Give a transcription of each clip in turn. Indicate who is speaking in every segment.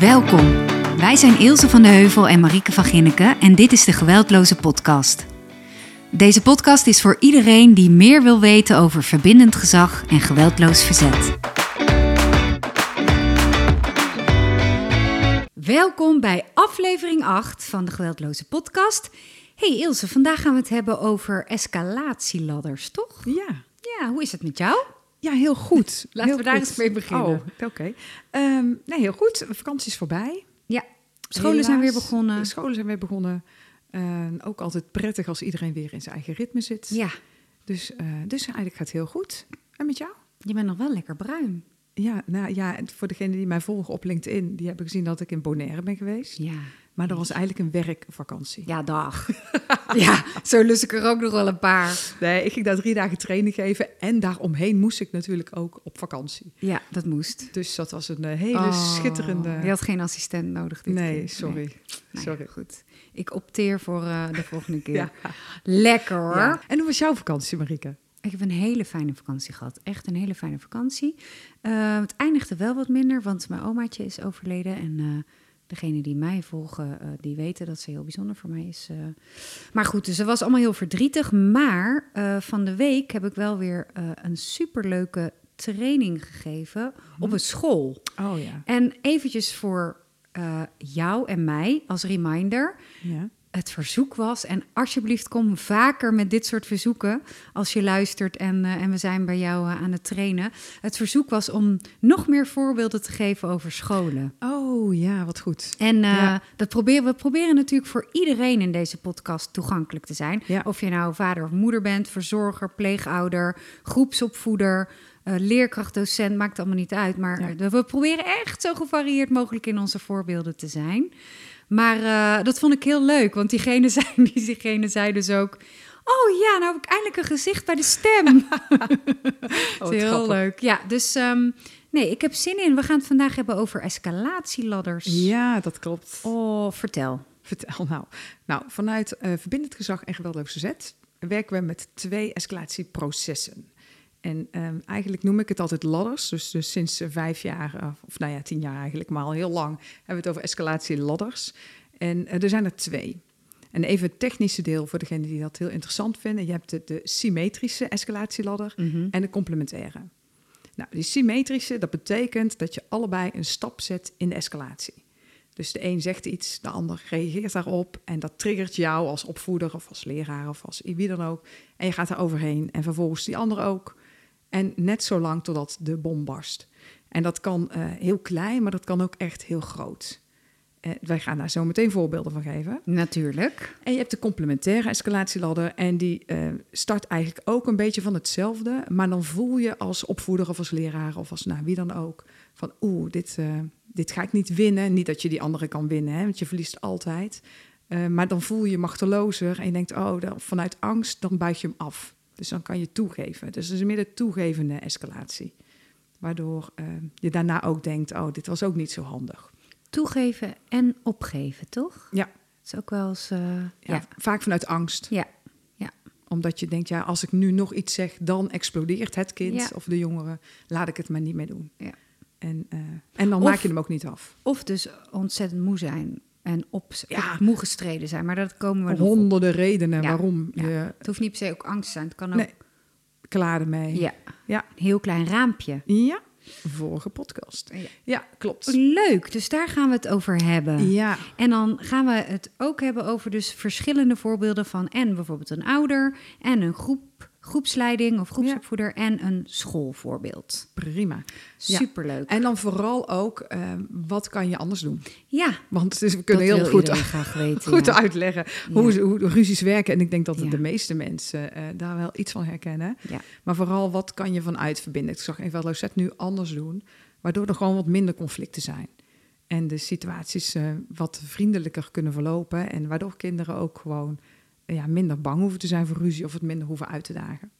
Speaker 1: Welkom. Wij zijn Ilse van de Heuvel en Marieke van Ginneken en dit is de Geweldloze Podcast. Deze podcast is voor iedereen die meer wil weten over verbindend gezag en geweldloos verzet. Welkom bij aflevering 8 van de Geweldloze Podcast. Hey Ilse, vandaag gaan we het hebben over escalatieladders, toch?
Speaker 2: Ja,
Speaker 1: Ja, hoe is het met jou?
Speaker 2: ja heel goed.
Speaker 1: Laten
Speaker 2: Heel
Speaker 1: we daar
Speaker 2: goed.
Speaker 1: eens mee beginnen.
Speaker 2: Oh, oké. Ehm, nee, heel goed. De vakantie is voorbij.
Speaker 1: Ja, scholen zijn weer
Speaker 2: Helaas.
Speaker 1: begonnen.
Speaker 2: De scholen zijn weer begonnen. Eh, ook altijd prettig als iedereen weer in zijn eigen ritme zit.
Speaker 1: Ja,
Speaker 2: Dus, eh, dus eigenlijk gaat het heel goed. En met jou?
Speaker 1: je bent nog wel lekker bruin.
Speaker 2: Ja, nou ja, en voor degenen die mij volgen op LinkedIn, die hebben gezien dat ik in Bonaire ben geweest.
Speaker 1: Ja.
Speaker 2: Maar dat was eigenlijk een werkvakantie.
Speaker 1: Ja, dag. ja, zo lus ik er ook nog wel een paar.
Speaker 2: Nee, ik ging daar drie dagen training geven en daaromheen moest ik natuurlijk ook op vakantie.
Speaker 1: Ja, dat moest.
Speaker 2: Dus dat was een eh, hele
Speaker 1: Oh, Je
Speaker 2: schitterende...
Speaker 1: had geen assistent nodig dit
Speaker 2: Nee,
Speaker 1: keer.
Speaker 2: sorry.
Speaker 1: Nee,
Speaker 2: Sorry.
Speaker 1: Goed. Ik opteer voor eh, de volgende keer.
Speaker 2: Ja.
Speaker 1: Lekker hoor.
Speaker 2: Ja. En hoe was jouw vakantie, Marieke?
Speaker 1: Ik heb een hele fijne vakantie gehad. Echt een hele fijne vakantie. Eh, het eindigde wel wat minder, want mijn omaatje is overleden. En eh degenen die mij volgen, eh, die weten dat ze heel bijzonder voor mij is. eh. Maar goed, dus het was allemaal heel verdrietig. Maar eh, van de week heb ik wel weer eh, een superleuke training gegeven op een school.
Speaker 2: Oh ja.
Speaker 1: En eventjes voor eh, jou en mij als reminder
Speaker 2: ja.
Speaker 1: het verzoek was. En alsjeblieft, kom vaker met dit soort verzoeken als je luistert en, eh, en we zijn bij jou eh, aan het trainen. Het verzoek was om nog meer voorbeelden te geven over scholen.
Speaker 2: Oh ja, wat goed.
Speaker 1: En eh,
Speaker 2: Ja.
Speaker 1: dat proberen, we proberen natuurlijk voor iedereen in deze podcast toegankelijk te zijn.
Speaker 2: Ja.
Speaker 1: Of je nou vader of moeder bent, verzorger, pleegouder, groepsopvoeder, eh, leerkracht, docent, maakt allemaal niet uit. Maar
Speaker 2: Ja.
Speaker 1: we proberen echt zo gevarieerd mogelijk in onze voorbeelden te zijn. Maar eh, dat vond ik heel leuk, want diegene zei, diegene zei dus ook... Oh ja, nou heb ik eindelijk een gezicht bij de stem.
Speaker 2: wat
Speaker 1: heel
Speaker 2: Oh, grappig.
Speaker 1: leuk. Ja, dus ehm, nee, ik heb zin in. We gaan het vandaag hebben over escalatieladders.
Speaker 2: Ja, dat klopt.
Speaker 1: Oh, vertel.
Speaker 2: Vertel nou. Nou, vanuit eh verbindend gezag en geweldloos verzet werken we met twee escalatieprocessen. En ehm, eigenlijk noem ik het altijd ladders. Dus, dus sinds eh, vijf jaar, eh, of nou ja, tien jaar eigenlijk, maar al heel lang hebben we het over escalatieladders. En eh, er zijn er twee. En even het technische deel voor degenen die dat heel interessant vinden. Je hebt de, de symmetrische escalatieladder en de complementaire. Nou, die symmetrische, dat betekent dat je allebei een stap zet in de escalatie. Dus de een zegt iets, de ander reageert daarop en dat triggert jou als opvoeder of als leraar of als wie dan ook. En je gaat daar overheen en vervolgens die ander ook. En net zo lang totdat de bom barst. En dat kan eh, heel klein, maar dat kan ook echt heel groot. Eh, wij gaan daar zo meteen voorbeelden van geven.
Speaker 1: Natuurlijk.
Speaker 2: En je hebt de complementaire escalatieladder. En die eh, start eigenlijk ook een beetje van hetzelfde. Maar dan voel je als opvoeder of als leraar of als nou, wie dan ook... van oeh, dit, eh, dit ga ik niet winnen. Niet dat je die andere kan winnen, hè, want je verliest altijd. Eh, maar dan voel je je machtelozer en je denkt... oh, dan, vanuit angst, dan buig je hem af. Dus dan kan je toegeven. Dus het is meer de toegevende escalatie. Waardoor eh, je daarna ook denkt... oh, dit was ook niet zo handig.
Speaker 1: Toegeven en opgeven, toch?
Speaker 2: Ja,
Speaker 1: Dat is ook wel eens. eh,
Speaker 2: ja,
Speaker 1: ja.
Speaker 2: vaak vanuit angst.
Speaker 1: ja. Ja.
Speaker 2: Omdat je denkt, ja, als ik nu nog iets zeg, dan explodeert het kind
Speaker 1: Ja.
Speaker 2: of de jongere. Laat ik het maar niet meer doen.
Speaker 1: Ja.
Speaker 2: En, eh, en dan
Speaker 1: Of-
Speaker 2: maak je hem ook niet af.
Speaker 1: Of dus ontzettend moe zijn en op,
Speaker 2: Ja.
Speaker 1: op moe gestreden zijn. Maar dat komen we nog op.
Speaker 2: Honderden redenen
Speaker 1: Ja,
Speaker 2: waarom
Speaker 1: ja.
Speaker 2: je
Speaker 1: Het hoeft niet per se ook angst te zijn. Het kan ook.
Speaker 2: Nee. klaar ermee.
Speaker 1: Ja.
Speaker 2: Ja.
Speaker 1: Een heel klein raampje.
Speaker 2: Ja, vorige podcast.
Speaker 1: Ja.
Speaker 2: Ja, klopt.
Speaker 1: Leuk, dus daar gaan we het over hebben.
Speaker 2: Ja,
Speaker 1: En dan gaan we het ook hebben over dus verschillende voorbeelden van en bijvoorbeeld een ouder en een groep, groepsleiding of groepsopvoeder en een schoolvoorbeeld.
Speaker 2: prima. Ja.
Speaker 1: Superleuk.
Speaker 2: En dan vooral ook, eh, wat kan je anders doen?
Speaker 1: Ja,
Speaker 2: Want dus we kunnen
Speaker 1: dat
Speaker 2: heel
Speaker 1: wil
Speaker 2: goed
Speaker 1: iedereen graag weten.
Speaker 2: goed
Speaker 1: ja.
Speaker 2: uitleggen hoe, ze- hoe de ruzies werken. En ik denk dat
Speaker 1: Ja.
Speaker 2: de meeste mensen eh, daar wel iets van herkennen.
Speaker 1: Ja.
Speaker 2: Maar vooral, wat kan je vanuit verbinden? Ik zag even Lozet nu anders doen, waardoor er gewoon wat minder conflicten zijn. En de situaties eh, wat vriendelijker kunnen verlopen. En waardoor kinderen ook gewoon eh, ja, minder bang hoeven te zijn voor ruzie of het minder hoeven uit te dagen.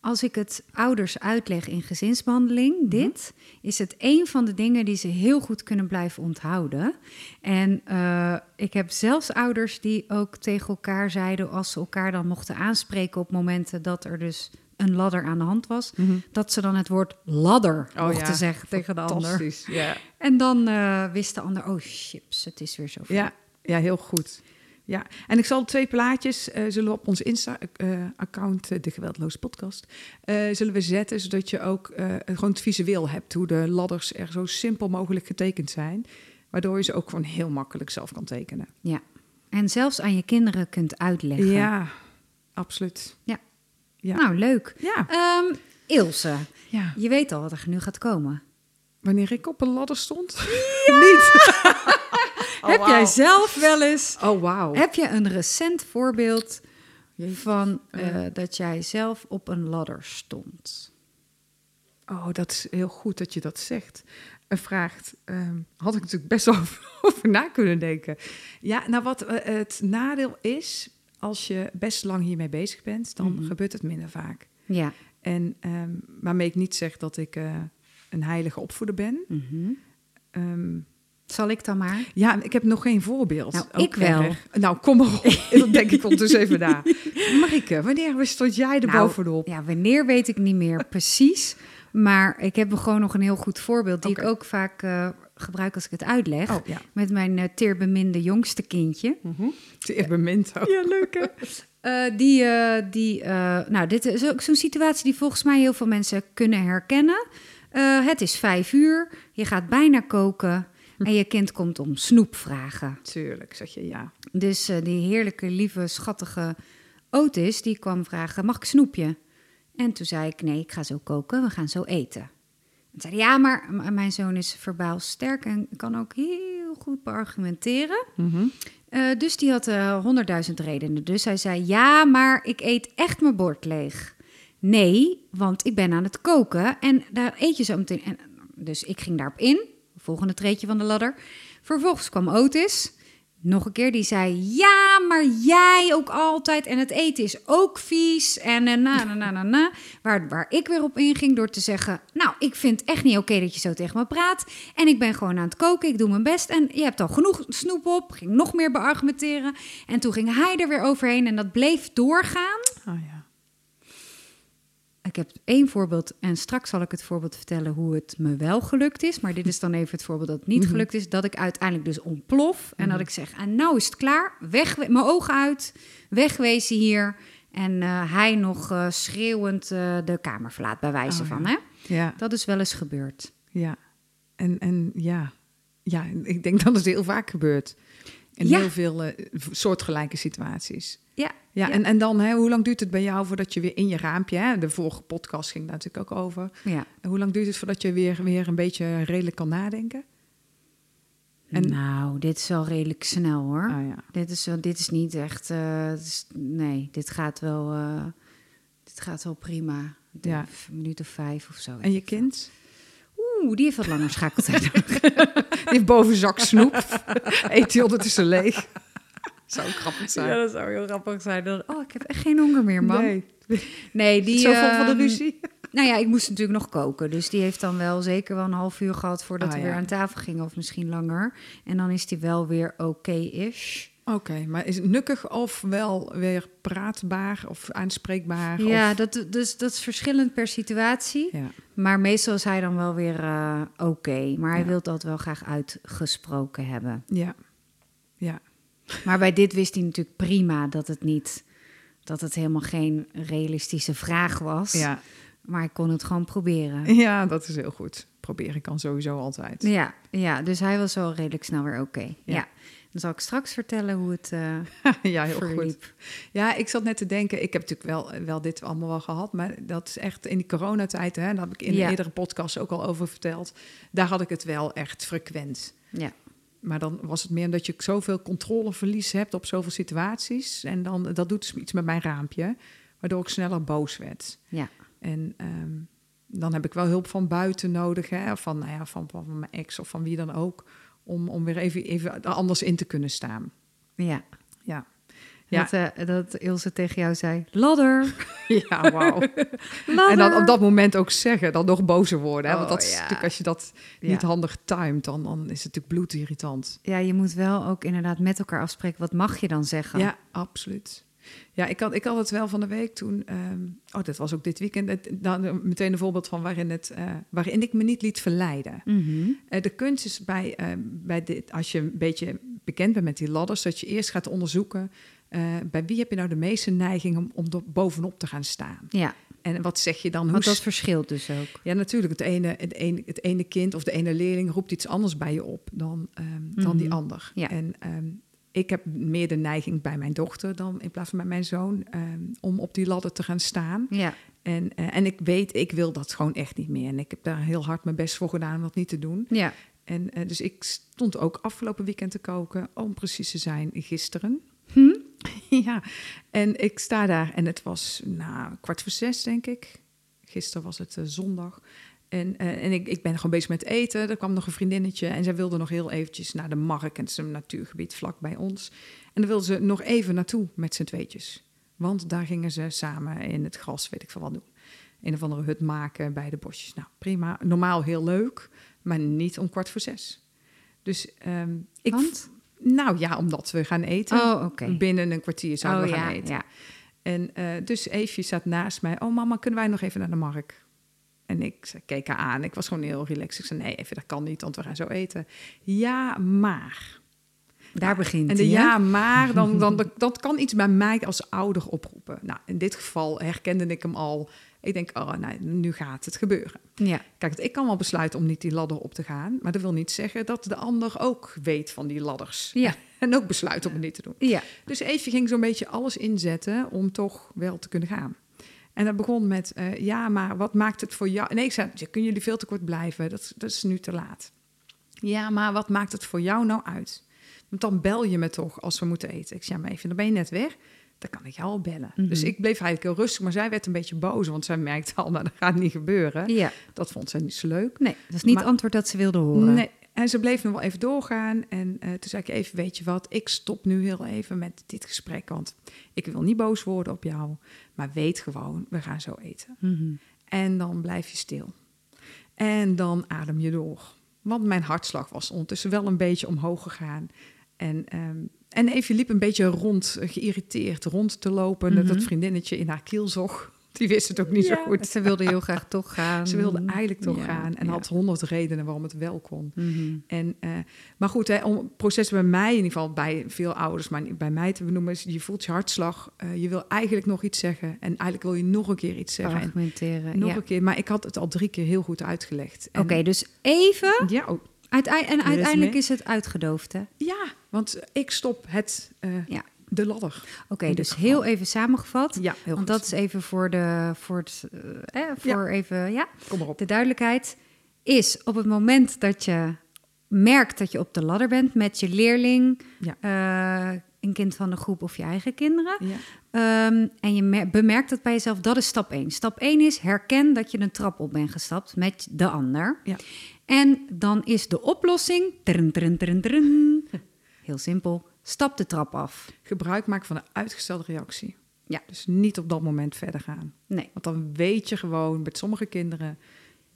Speaker 1: Als ik het ouders uitleg in gezinsbehandeling,
Speaker 2: Mhm.
Speaker 1: dit is het een van de dingen die ze heel goed kunnen blijven onthouden. En eh, ik heb zelfs ouders die ook tegen elkaar zeiden als ze elkaar dan mochten aanspreken op momenten dat er dus een ladder aan de hand was,
Speaker 2: Mhm.
Speaker 1: dat ze dan het woord ladder
Speaker 2: Oh
Speaker 1: mochten
Speaker 2: ja,
Speaker 1: zeggen tegen de ander.
Speaker 2: Fantastisch, ja.
Speaker 1: En dan eh, wist de ander, oh chips, het is weer zo.
Speaker 2: Ja, ja, heel goed. Ja, en ik zal twee plaatjes eh, zullen we op ons Insta-account, eh, de Geweldloze Podcast, eh, zullen we zetten, zodat je ook eh, gewoon het visueel hebt, hoe de ladders er zo simpel mogelijk getekend zijn, waardoor je ze ook gewoon heel makkelijk zelf kan tekenen.
Speaker 1: Ja. En zelfs aan je kinderen kunt uitleggen.
Speaker 2: Ja, absoluut. ja.
Speaker 1: Nou, leuk.
Speaker 2: Ja,
Speaker 1: Ehm, Ilse,
Speaker 2: ja.
Speaker 1: je weet al wat er nu gaat komen.
Speaker 2: Wanneer ik op een ladder stond, niet. Oh,
Speaker 1: heb jij
Speaker 2: wauw.
Speaker 1: zelf wel eens...
Speaker 2: Oh, wauw.
Speaker 1: Heb je een recent voorbeeld
Speaker 2: Jeetje.
Speaker 1: van
Speaker 2: Oh,
Speaker 1: eh, dat jij zelf op een ladder stond?
Speaker 2: Oh, dat is heel goed dat je dat zegt. En vraagt, ehm, had ik natuurlijk best wel over na kunnen denken. Ja, nou wat eh, het nadeel is, als je best lang hiermee bezig bent, dan
Speaker 1: Mhm.
Speaker 2: gebeurt het minder vaak.
Speaker 1: Ja.
Speaker 2: En ehm, waarmee ik niet zeg dat ik eh, een heilige opvoeder ben.
Speaker 1: Mhm.
Speaker 2: Ehm,
Speaker 1: Zal ik dan maar?
Speaker 2: ja, ik heb nog geen voorbeeld.
Speaker 1: Nou,
Speaker 2: Ook
Speaker 1: ik wel.
Speaker 2: erg. Nou, kom maar op. dat denk ik ondertussen even na. Marike, wanneer stond jij er
Speaker 1: Nou,
Speaker 2: bovenop?
Speaker 1: Ja, wanneer weet ik niet meer precies. Maar ik heb gewoon nog een heel goed voorbeeld die
Speaker 2: Oké.
Speaker 1: ik ook vaak eh, gebruik als ik het uitleg.
Speaker 2: Oh, ja.
Speaker 1: Met mijn eh, teerbeminde jongste kindje.
Speaker 2: Zeer bemind ook.
Speaker 1: Ja, leuk hè? die, eh, die eh, nou, dit is ook zo'n situatie die volgens mij heel veel mensen kunnen herkennen. Eh, het is vijf uur, je gaat bijna koken en je kind komt om snoep vragen.
Speaker 2: Tuurlijk, zeg je ja.
Speaker 1: Dus eh, die heerlijke, lieve, schattige Otis, die kwam vragen, mag ik snoepje? En toen zei ik, nee, ik ga zo koken, we gaan zo eten. En zei hij, ja, maar m- mijn zoon is verbaal sterk en kan ook heel goed beargumenteren. Eh, dus die had honderdduizend redenen. Dus hij zei: Ja, maar ik eet echt mijn bord leeg. Nee, want ik ben aan het koken en daar eet je zo meteen. En, dus ik ging daarop in. Volgende treetje van de ladder. Vervolgens kwam Otis. Nog een keer, die zei: Ja, maar jij ook altijd. En het eten is ook vies. En eh, na, na, na, na, na. Waar, waar ik weer op inging door te zeggen: Nou, ik vind echt niet oké dat je zo tegen me praat. En ik ben gewoon aan het koken. Ik doe mijn best. En je hebt al genoeg snoep op. Ging nog meer beargumenteren. En toen ging hij er weer overheen. En dat bleef doorgaan.
Speaker 2: Oh ja.
Speaker 1: Ik heb één voorbeeld en straks zal ik het voorbeeld vertellen hoe het me wel gelukt is. Maar dit is dan even het voorbeeld dat het
Speaker 2: Mhm.
Speaker 1: niet gelukt is. Dat ik uiteindelijk dus ontplof en dat ik zeg, en nou is het klaar. Weg, mijn ogen uit, wegwezen hier. En eh, hij nog eh, schreeuwend eh, de kamer verlaat, bij wijze
Speaker 2: Oh, ja.
Speaker 1: van. Hè?
Speaker 2: Ja.
Speaker 1: Dat is wel eens gebeurd.
Speaker 2: Ja, en, en ja. ja, ik denk dat het heel vaak gebeurt. In
Speaker 1: Ja.
Speaker 2: heel veel eh, v- soortgelijke situaties.
Speaker 1: Ja,
Speaker 2: Ja, En, en dan, hè, hoe lang duurt het bij jou voordat je weer in je raampje... Hè? De vorige podcast ging daar natuurlijk ook over.
Speaker 1: ja.
Speaker 2: En hoe lang duurt het voordat je weer, weer een beetje redelijk kan nadenken? En-
Speaker 1: Nou, dit is wel redelijk snel hoor.
Speaker 2: Ah ja.
Speaker 1: Dit, is, wel- dit is niet echt, eh, het is- nee, dit gaat wel, eh, dit gaat wel prima.
Speaker 2: Ja.
Speaker 1: Een minuut of vijf of zo.
Speaker 2: En je kind?
Speaker 1: Oeh, die heeft wat langer schakeltijd. nodig.
Speaker 2: Die heeft boven zak snoep. Eet hij ondertussen leeg. Zou ook grappig zijn.
Speaker 1: dat zou heel grappig zijn. Dan, oh, ik heb echt geen honger meer, man. Nee,
Speaker 2: Nee,
Speaker 1: die...
Speaker 2: zo vol van de
Speaker 1: ehm,
Speaker 2: ruzie.
Speaker 1: Nou ja, ik moest natuurlijk nog koken. Dus die heeft dan wel zeker wel een half uur gehad voordat
Speaker 2: Ah,
Speaker 1: we
Speaker 2: ja.
Speaker 1: weer aan tafel gingen. Of misschien langer. En dan is die wel weer oké-ish.
Speaker 2: Oké, maar is het nukkig of wel weer praatbaar of aanspreekbaar?
Speaker 1: Ja,
Speaker 2: of...
Speaker 1: dat, dus, dat is verschillend per situatie.
Speaker 2: ja.
Speaker 1: Maar meestal is hij dan wel weer eh, oké. Maar hij
Speaker 2: Ja.
Speaker 1: wil dat wel graag uitgesproken hebben.
Speaker 2: Ja. Ja.
Speaker 1: Maar bij dit wist hij natuurlijk prima dat het niet... Dat het helemaal geen realistische vraag was.
Speaker 2: Ja.
Speaker 1: Maar ik kon het gewoon proberen.
Speaker 2: ja, dat is heel goed. Proberen kan sowieso altijd.
Speaker 1: Ja, ja dus hij was wel redelijk snel weer oké. Ja.
Speaker 2: Ja.
Speaker 1: Dan zal ik straks vertellen hoe het eh
Speaker 2: ja, heel goed.
Speaker 1: verliep.
Speaker 2: Ja, ik zat net te denken, ik heb natuurlijk wel, wel dit allemaal wel gehad, maar dat is echt in die coronatijd, hè, daar heb ik in
Speaker 1: Ja.
Speaker 2: eerdere podcasts ook al over verteld, daar had ik het wel echt frequent.
Speaker 1: Ja.
Speaker 2: Maar dan was het meer omdat je zoveel controleverlies hebt op zoveel situaties en dan, dat doet dus iets met mijn raampje, waardoor ik sneller boos werd.
Speaker 1: Ja.
Speaker 2: En ehm, dan heb ik wel hulp van buiten nodig, hè? Van, nou ja, van, van mijn ex of van wie dan ook, om, om weer even, even er anders in te kunnen staan.
Speaker 1: ja.
Speaker 2: Ja, Ja.
Speaker 1: Dat, eh, dat Ilse tegen jou zei, ladder,
Speaker 2: ja wauw.
Speaker 1: ladder.
Speaker 2: en dan op dat moment ook zeggen, dan nog bozer worden. Hè? Want
Speaker 1: Oh,
Speaker 2: dat is
Speaker 1: ja.
Speaker 2: natuurlijk, als je dat
Speaker 1: Ja.
Speaker 2: niet handig timed, dan, dan is het natuurlijk bloedirritant.
Speaker 1: Ja, je moet wel ook inderdaad met elkaar afspreken. Wat mag je dan zeggen?
Speaker 2: Ja, absoluut. Ja, ik had, ik had het wel van de week toen. ehm, oh, dat was ook dit weekend. Het, dan eh, meteen een voorbeeld van waarin, het, eh, waarin ik me niet liet verleiden.
Speaker 1: Mhm.
Speaker 2: Eh, de kunst is bij, eh, bij dit, als je een beetje bekend bent met die ladders, dat je eerst gaat onderzoeken. eh, bij wie heb je nou de meeste neiging om, om er bovenop te gaan staan?
Speaker 1: Ja,
Speaker 2: En wat zeg je dan? Hoe
Speaker 1: want dat
Speaker 2: s-
Speaker 1: verschilt dus ook.
Speaker 2: Ja, natuurlijk. Het ene, het, ene, het ene kind of de ene leerling roept iets anders bij je op dan, ehm, dan die
Speaker 1: Mhm.
Speaker 2: ander.
Speaker 1: Ja.
Speaker 2: En ehm, ik heb meer de neiging bij mijn dochter dan in plaats van bij mijn zoon ehm, om op die ladder te gaan staan.
Speaker 1: Ja,
Speaker 2: En, eh, en ik weet, ik wil dat gewoon echt niet meer. En ik heb daar heel hard mijn best voor gedaan om dat niet te doen.
Speaker 1: ja.
Speaker 2: En eh, dus ik stond ook afgelopen weekend te koken, om precies te zijn, gisteren.
Speaker 1: Hm?
Speaker 2: ja, en ik sta daar en het was nou, kwart voor zes, denk ik. Gisteren was het eh, zondag. En, eh, en ik, ik ben gewoon bezig met eten. Er kwam nog een vriendinnetje en zij wilde nog heel eventjes naar de markt. En het is een natuurgebied vlak bij ons. En daar wilde ze nog even naartoe met z'n tweetjes. Want daar gingen ze samen in het gras, weet ik veel wat doen. Een of andere hut maken bij de bosjes. Nou, prima. Normaal heel leuk, maar niet om kwart voor zes. Dus ehm, ik...
Speaker 1: Want?
Speaker 2: Nou ja, omdat we gaan eten.
Speaker 1: Oh, oké.
Speaker 2: Binnen een kwartier zouden
Speaker 1: Oh,
Speaker 2: we gaan
Speaker 1: ja,
Speaker 2: eten.
Speaker 1: ja.
Speaker 2: En eh, dus Eefje zat naast mij. Oh mama, kunnen wij nog even naar de markt? En ik ze- keek haar aan. Ik was gewoon heel relaxed. Ik zei, nee Eefje, dat kan niet, want we gaan zo eten. Ja, maar.
Speaker 1: Daar begint
Speaker 2: Ah, En de
Speaker 1: ie, hè?
Speaker 2: ja, maar, dan, dan, dat, dat kan iets bij mij als ouder oproepen. Nou, in dit geval herkende ik hem al. Ik denk, oh, nou, nu gaat het gebeuren.
Speaker 1: Ja,
Speaker 2: Kijk, ik kan wel besluiten om niet die ladder op te gaan. Maar dat wil niet zeggen dat de ander ook weet van die ladders.
Speaker 1: ja,
Speaker 2: En ook besluit om het niet te doen.
Speaker 1: ja.
Speaker 2: Dus Eefje ging zo'n beetje alles inzetten om toch wel te kunnen gaan. En dat begon met, eh, ja, maar wat maakt het voor jou... Nee, ik zei, kunnen jullie veel te kort blijven? Dat, dat is nu te laat. Ja, maar wat maakt het voor jou nou uit? Want dan bel je me toch als we moeten eten. Ik zei, ja, maar even, dan ben je net weg. Dan kan ik jou al bellen.
Speaker 1: Mhm.
Speaker 2: Dus ik bleef eigenlijk heel rustig. Maar zij werd een beetje boos, want zij merkte al, nou, dat gaat niet gebeuren.
Speaker 1: ja.
Speaker 2: Dat vond zij niet zo leuk.
Speaker 1: Nee, dat is niet
Speaker 2: Maar-
Speaker 1: het antwoord dat ze wilde horen.
Speaker 2: Nee. En ze bleef nog wel even doorgaan. En eh, toen zei ik even, weet je wat, ik stop nu heel even met dit gesprek. Want ik wil niet boos worden op jou. Maar weet gewoon, we gaan zo eten.
Speaker 1: Mhm.
Speaker 2: En dan blijf je stil. En dan adem je door. Want mijn hartslag was ondertussen wel een beetje omhoog gegaan. En, ehm en even liep een beetje rond, eh, geïrriteerd rond te lopen.
Speaker 1: Mhm.
Speaker 2: Dat vriendinnetje in haar keel zocht. Die wist het ook niet zo
Speaker 1: Ja,
Speaker 2: goed.
Speaker 1: Ze wilde heel graag toch gaan.
Speaker 2: Ze wilde eigenlijk toch
Speaker 1: Ja,
Speaker 2: gaan. En
Speaker 1: ja.
Speaker 2: had honderd redenen waarom het wel kon.
Speaker 1: Mhm.
Speaker 2: En, eh, maar goed, hè, om processen bij mij, in ieder geval bij veel ouders, maar niet bij mij te benoemen, is je voelt je hartslag. eh, je wil eigenlijk nog iets zeggen. En eigenlijk wil je nog een keer iets zeggen. En eh,
Speaker 1: Argumenteren.
Speaker 2: nog
Speaker 1: ja.
Speaker 2: een keer. Maar ik had het al drie keer heel goed uitgelegd. En-
Speaker 1: Oké, dus even.
Speaker 2: Ja, oh,
Speaker 1: uitei- en uiteindelijk
Speaker 2: mee.
Speaker 1: is het uitgedoofd, hè?
Speaker 2: ja, want ik stop het, eh,
Speaker 1: Ja.
Speaker 2: de ladder.
Speaker 1: Oké,
Speaker 2: In dit
Speaker 1: dus
Speaker 2: geval.
Speaker 1: heel even samengevat.
Speaker 2: Ja, heel
Speaker 1: want
Speaker 2: goed.
Speaker 1: dat is even voor de, voor het, eh, eh, voor even, ja,
Speaker 2: Kom maar op.
Speaker 1: de duidelijkheid. Is op het moment dat je merkt dat je op de ladder bent met je leerling, eh, een kind van de groep of je eigen kinderen.
Speaker 2: Ja.
Speaker 1: Ehm, en je mer- bemerkt dat bij jezelf, dat is stap 1. Stap 1 is herken dat je een trap op bent gestapt met de ander.
Speaker 2: Ja.
Speaker 1: En dan is de oplossing, trun, trun, trun, trun. heel simpel, stap de trap af.
Speaker 2: Gebruik maken van een uitgestelde reactie.
Speaker 1: Ja.
Speaker 2: Dus niet op dat moment verder gaan.
Speaker 1: Nee.
Speaker 2: Want dan weet je gewoon met sommige kinderen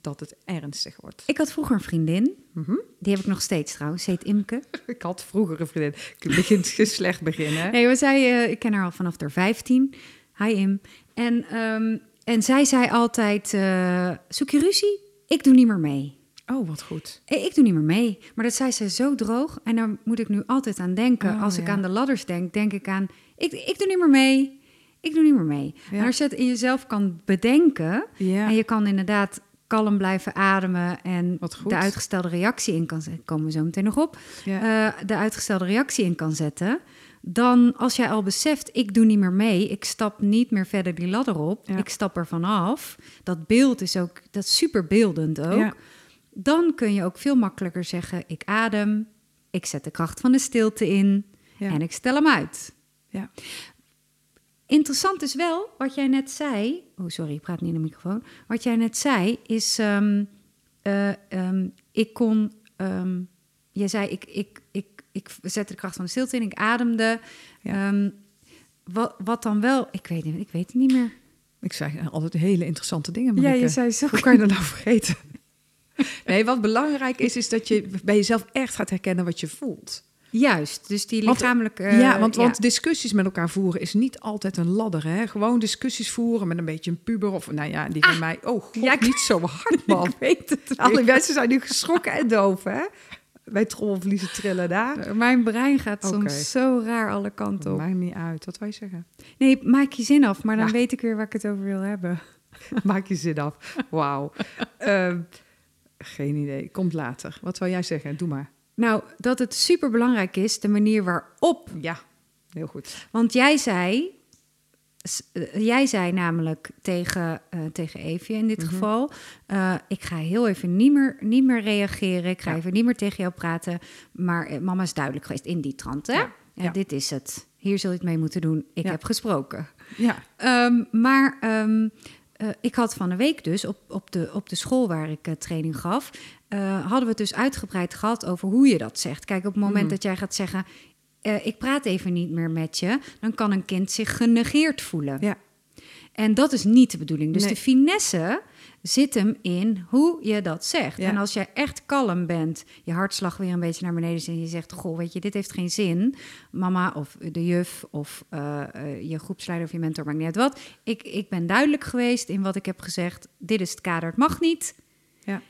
Speaker 2: dat het ernstig wordt.
Speaker 1: Ik had vroeger een vriendin,
Speaker 2: Mhm.
Speaker 1: die heb ik nog steeds trouwens, ze heet Imke.
Speaker 2: Ik had vroeger een vriendin. Ik begin slecht beginnen.
Speaker 1: Nee, maar zij, eh, ik ken haar al vanaf haar 15. Hi Im. En, ehm, en zij zei altijd, eh, zoek je ruzie? Ik doe niet meer mee.
Speaker 2: Oh, wat goed.
Speaker 1: Hey, ik doe niet meer mee. Maar dat zei ze zo droog. En daar moet ik nu altijd aan denken.
Speaker 2: Oh,
Speaker 1: Als ik
Speaker 2: ja.
Speaker 1: aan de ladders denk, denk ik aan... Ik, ik doe niet meer mee. Ik doe niet meer mee.
Speaker 2: Ja.
Speaker 1: En als je het in jezelf kan bedenken...
Speaker 2: Ja.
Speaker 1: en je kan inderdaad kalm blijven ademen... en
Speaker 2: Wat goed.
Speaker 1: de uitgestelde reactie in kan zetten... komen we zo meteen nog op.
Speaker 2: Ja.
Speaker 1: eh, de uitgestelde reactie in kan zetten... dan als jij al beseft, ik doe niet meer mee... ik stap niet meer verder die ladder op...
Speaker 2: Ja.
Speaker 1: ik stap er vanaf... dat beeld is ook... dat is super beeldend ook
Speaker 2: Ja.
Speaker 1: dan kun je ook veel makkelijker zeggen: ik adem, ik zet de kracht van de stilte in
Speaker 2: Ja.
Speaker 1: en ik stel hem uit.
Speaker 2: Ja.
Speaker 1: Interessant is wel wat jij net zei. Oh, sorry, ik praat niet in de microfoon. Wat jij net zei is: ehm, eh, ehm, ik kon. ehm, jij zei: ik, ik, ik, ik zette de kracht van de stilte in, ik ademde.
Speaker 2: Ja.
Speaker 1: Ehm, wat, wat dan wel? Ik weet, niet- ik weet het niet meer. eh,
Speaker 2: Ik zei altijd hele interessante dingen, Marike.
Speaker 1: zei zo.
Speaker 2: Hoe kan je dat nou vergeten? Nee, wat belangrijk is, is dat je bij jezelf echt gaat herkennen wat je voelt.
Speaker 1: Juist, dus die
Speaker 2: Want-
Speaker 1: lichamelijke...
Speaker 2: ja, want,
Speaker 1: eh,
Speaker 2: want discussies met elkaar voeren is niet altijd een ladder. Hè? Gewoon discussies voeren met een beetje een puber. Of nou ja, die van mij. Oh, god,
Speaker 1: Ja, ik-
Speaker 2: niet zo hard, man.
Speaker 1: Ik weet het niet.
Speaker 2: Alle mensen zijn nu geschrokken en doof, hè? Wij trommelvliezen trillen daar.
Speaker 1: Eh, Mijn brein gaat
Speaker 2: Oké. Oh,
Speaker 1: soms zo raar alle kanten op.
Speaker 2: Maakt niet uit. Wat wij zeggen?
Speaker 1: Nee, maak je zin af, maar dan
Speaker 2: Ja.
Speaker 1: weet ik weer waar ik het over wil hebben.
Speaker 2: Maak je zin af. Wauw. Ehm, geen idee. Komt later. Wat wil jij zeggen? Doe maar.
Speaker 1: Nou, dat het superbelangrijk is, de manier waarop.
Speaker 2: Ja, heel goed.
Speaker 1: Want jij zei, s- eh, jij zei namelijk tegen, eh, tegen Evie in dit
Speaker 2: Mhm.
Speaker 1: geval... eh, ik ga heel even niet meer, niet meer reageren, ik ga
Speaker 2: Ja.
Speaker 1: even niet meer tegen jou praten. Maar eh, mama is duidelijk geweest in die trant, hè?
Speaker 2: Ja.
Speaker 1: En
Speaker 2: Ja.
Speaker 1: dit is het. Hier zul je het mee moeten doen. Ik
Speaker 2: Ja.
Speaker 1: heb gesproken.
Speaker 2: Ja.
Speaker 1: Ehm, maar ehm, eh, ik had van een week dus op, op, de, op de school waar ik eh, training gaf, eh, hadden we het dus uitgebreid gehad over hoe je dat zegt. Kijk, op het moment dat jij gaat zeggen, eh, ik praat even niet meer met je, dan kan een kind zich genegeerd voelen.
Speaker 2: Ja.
Speaker 1: En dat is niet de bedoeling. Dus
Speaker 2: Nee.
Speaker 1: de finesse zit hem in hoe je dat zegt.
Speaker 2: Ja.
Speaker 1: En als jij echt kalm bent, je hartslag weer een beetje naar beneden is en je zegt: Goh, weet je, dit heeft geen zin. Mama of de juf of eh, eh, je groepsleider of je mentor, maakt niet uit wat. Ik, ik ben duidelijk geweest in wat ik heb gezegd. Dit is het kader, het mag niet.
Speaker 2: Ja.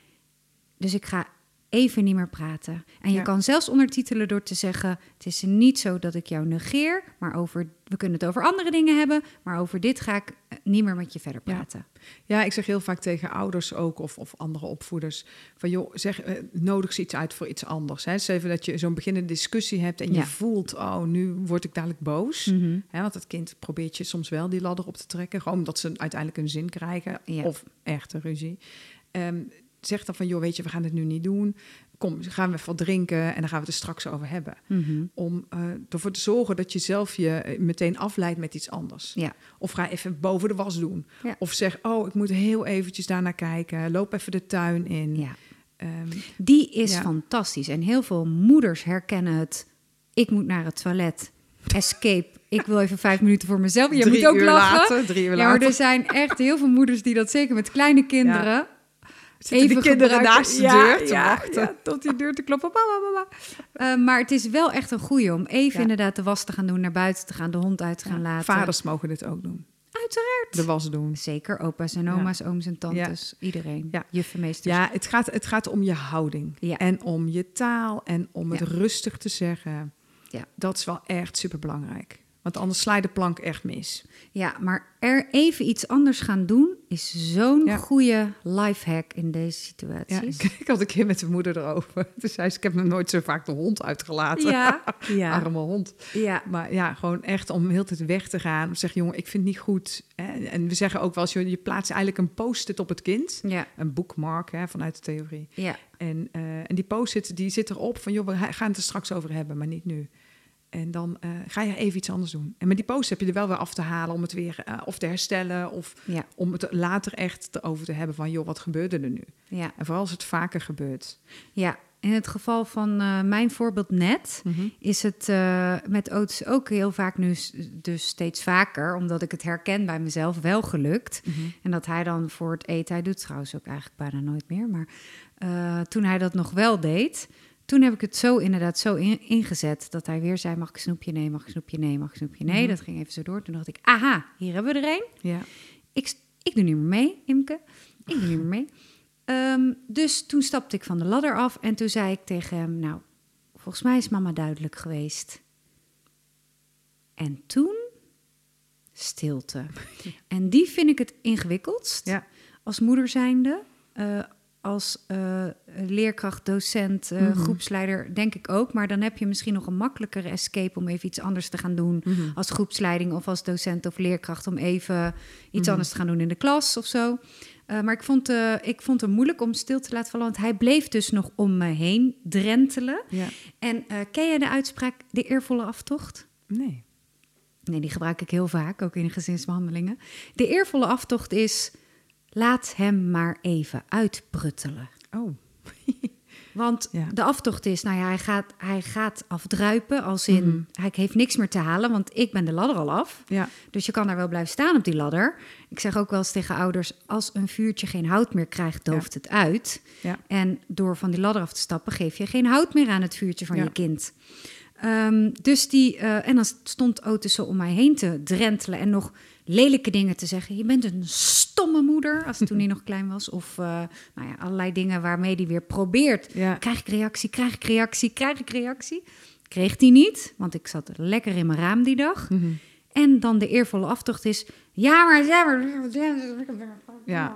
Speaker 1: Dus ik ga even niet meer praten. En je
Speaker 2: Ja.
Speaker 1: kan zelfs ondertitelen door te zeggen: Het is niet zo dat ik jou negeer, maar over, we kunnen het over andere dingen hebben, maar over dit ga ik eh, niet meer met je verder
Speaker 2: Ja.
Speaker 1: praten.
Speaker 2: Ja, ik zeg heel vaak tegen ouders ook of, of andere opvoeders van joh, zeg, eh, nodig ze iets uit voor iets anders. Hè? Dus even dat je zo'n beginnende discussie hebt en
Speaker 1: Ja.
Speaker 2: je voelt, oh, nu word ik dadelijk boos. Hè, want het kind probeert je soms wel die ladder op te trekken, gewoon omdat ze uiteindelijk een zin krijgen
Speaker 1: Ja.
Speaker 2: of echte ruzie. Ehm, zeg dan van joh, weet je, we gaan het nu niet doen. Kom, gaan we even wat drinken en dan gaan we het er straks over hebben.
Speaker 1: Mhm.
Speaker 2: Om eh, ervoor te zorgen dat je zelf je eh, meteen afleidt met iets anders.
Speaker 1: Ja.
Speaker 2: Of ga even boven de was doen.
Speaker 1: Ja.
Speaker 2: Of zeg, oh, ik moet heel eventjes daarnaar kijken. Loop even de tuin in.
Speaker 1: Ja.
Speaker 2: Ehm,
Speaker 1: Die is
Speaker 2: Ja.
Speaker 1: fantastisch. En heel veel moeders herkennen het. Ik moet naar het toilet. Escape. Ik wil even vijf minuten voor mezelf. Je
Speaker 2: Drie
Speaker 1: moet ook
Speaker 2: uur
Speaker 1: lachen.
Speaker 2: later, drie uur
Speaker 1: ja, maar
Speaker 2: later.
Speaker 1: er zijn echt heel veel moeders die dat zeker met kleine kinderen.
Speaker 2: Zitten die kinderen naast de deur te wachten?
Speaker 1: ja, tot die deur te kloppen. Mama, mama. Eh, maar het is wel echt een goeie om even
Speaker 2: Ja.
Speaker 1: inderdaad de was te gaan doen, naar buiten te gaan, de hond uit te gaan laten.
Speaker 2: vaders mogen dit ook doen.
Speaker 1: Uiteraard.
Speaker 2: De was doen.
Speaker 1: Zeker opa's en oma's, ooms en tantes. Iedereen.
Speaker 2: Ja.
Speaker 1: Juffen, meesters.
Speaker 2: Ja, het gaat, het gaat om je houding.
Speaker 1: Ja.
Speaker 2: En om je taal. En om het
Speaker 1: Ja.
Speaker 2: rustig te zeggen.
Speaker 1: Ja.
Speaker 2: Dat is wel echt superbelangrijk. Want anders sla je de plank echt mis.
Speaker 1: Ja, maar er even iets anders gaan doen is zo'n
Speaker 2: Ja.
Speaker 1: goede lifehack in deze
Speaker 2: Ja,
Speaker 1: situaties.
Speaker 2: ik, ik had een keer met mijn moeder erover. Toen zei ze, ik heb nog nooit zo vaak de hond uitgelaten.
Speaker 1: Ja, ja.
Speaker 2: Arme hond.
Speaker 1: Ja.
Speaker 2: Maar ja, gewoon echt om heel de tijd weg te gaan. Om te zeggen, jongen, ik vind het niet goed. En, en we zeggen ook wel eens, joh, je plaatst eigenlijk een post-it op het kind.
Speaker 1: Ja.
Speaker 2: Een bookmark hè, vanuit de theorie.
Speaker 1: Ja.
Speaker 2: En, eh, en die post-it die zit erop van, joh, we ha- gaan het er straks over hebben, maar niet nu. En dan eh, ga je even iets anders doen. En met die post heb je er wel weer af te halen om het weer eh, of te herstellen. Of
Speaker 1: Ja.
Speaker 2: om het later echt over te hebben van, joh, wat gebeurde er nu?
Speaker 1: ja.
Speaker 2: En vooral als het vaker gebeurt.
Speaker 1: Ja, in het geval van eh, mijn voorbeeld net, is het eh, met Otis ook heel vaak nu, s- dus steeds vaker, omdat ik het herken bij mezelf, wel gelukt.
Speaker 2: Mhm.
Speaker 1: En dat hij dan voor het eten, hij doet het trouwens ook eigenlijk bijna nooit meer, maar eh, toen hij dat nog wel deed, toen heb ik het zo inderdaad zo in- ingezet dat hij weer zei: mag ik een snoepje? Nee, mag ik een snoepje? Nee, mag ik een snoepje? Nee. Dat ging even zo door. Toen dacht ik: aha, hier hebben we er een.
Speaker 2: Ja.
Speaker 1: Ik, ik doe niet meer mee, Imke. Ik doe niet meer mee. Ehm, dus toen stapte ik van de ladder af en toen zei ik tegen hem: Nou, volgens mij is mama duidelijk geweest. En toen stilte. En die vind ik het ingewikkeldst
Speaker 2: Ja.
Speaker 1: als moeder zijnde. eh, als eh, leerkracht, docent, eh, groepsleider, denk ik ook. Maar dan heb je misschien nog een makkelijkere escape om even iets anders te gaan doen. Als groepsleiding of als docent of leerkracht. Om even iets anders te gaan doen in de klas of zo. Eh, maar ik vond, eh, ik vond het moeilijk om stil te laten vallen. Want hij bleef dus nog om me heen drentelen.
Speaker 2: Ja.
Speaker 1: En eh, ken jij de uitspraak de eervolle aftocht?
Speaker 2: Nee.
Speaker 1: Nee, die gebruik ik heel vaak, ook in gezinsbehandelingen. De eervolle aftocht is: laat hem maar even uitpruttelen.
Speaker 2: Oh.
Speaker 1: Want
Speaker 2: Ja.
Speaker 1: de aftocht is, nou ja, hij gaat, hij gaat afdruipen, als in hij heeft niks meer te halen, want ik ben de ladder al af.
Speaker 2: Ja.
Speaker 1: Dus je kan daar wel blijven staan op die ladder. Ik zeg ook wel eens tegen ouders, als een vuurtje geen hout meer krijgt, dooft het uit.
Speaker 2: Ja.
Speaker 1: En door van die ladder af te stappen, geef je geen hout meer aan het vuurtje van
Speaker 2: Ja.
Speaker 1: je kind. Ehm, dus die, eh, en dan stond Otis zo om mij heen te drentelen en nog lelijke dingen te zeggen. Je bent een stomme moeder, als toen hij nog klein was. Of eh, nou ja, allerlei dingen waarmee hij weer probeert.
Speaker 2: Ja.
Speaker 1: Krijg ik reactie, krijg ik reactie, krijg ik reactie. Kreeg die niet, want ik zat lekker in mijn raam die dag.
Speaker 2: Mhm.
Speaker 1: En dan de eervolle aftocht is... Ja, maar... Ja, maar,
Speaker 2: Ja.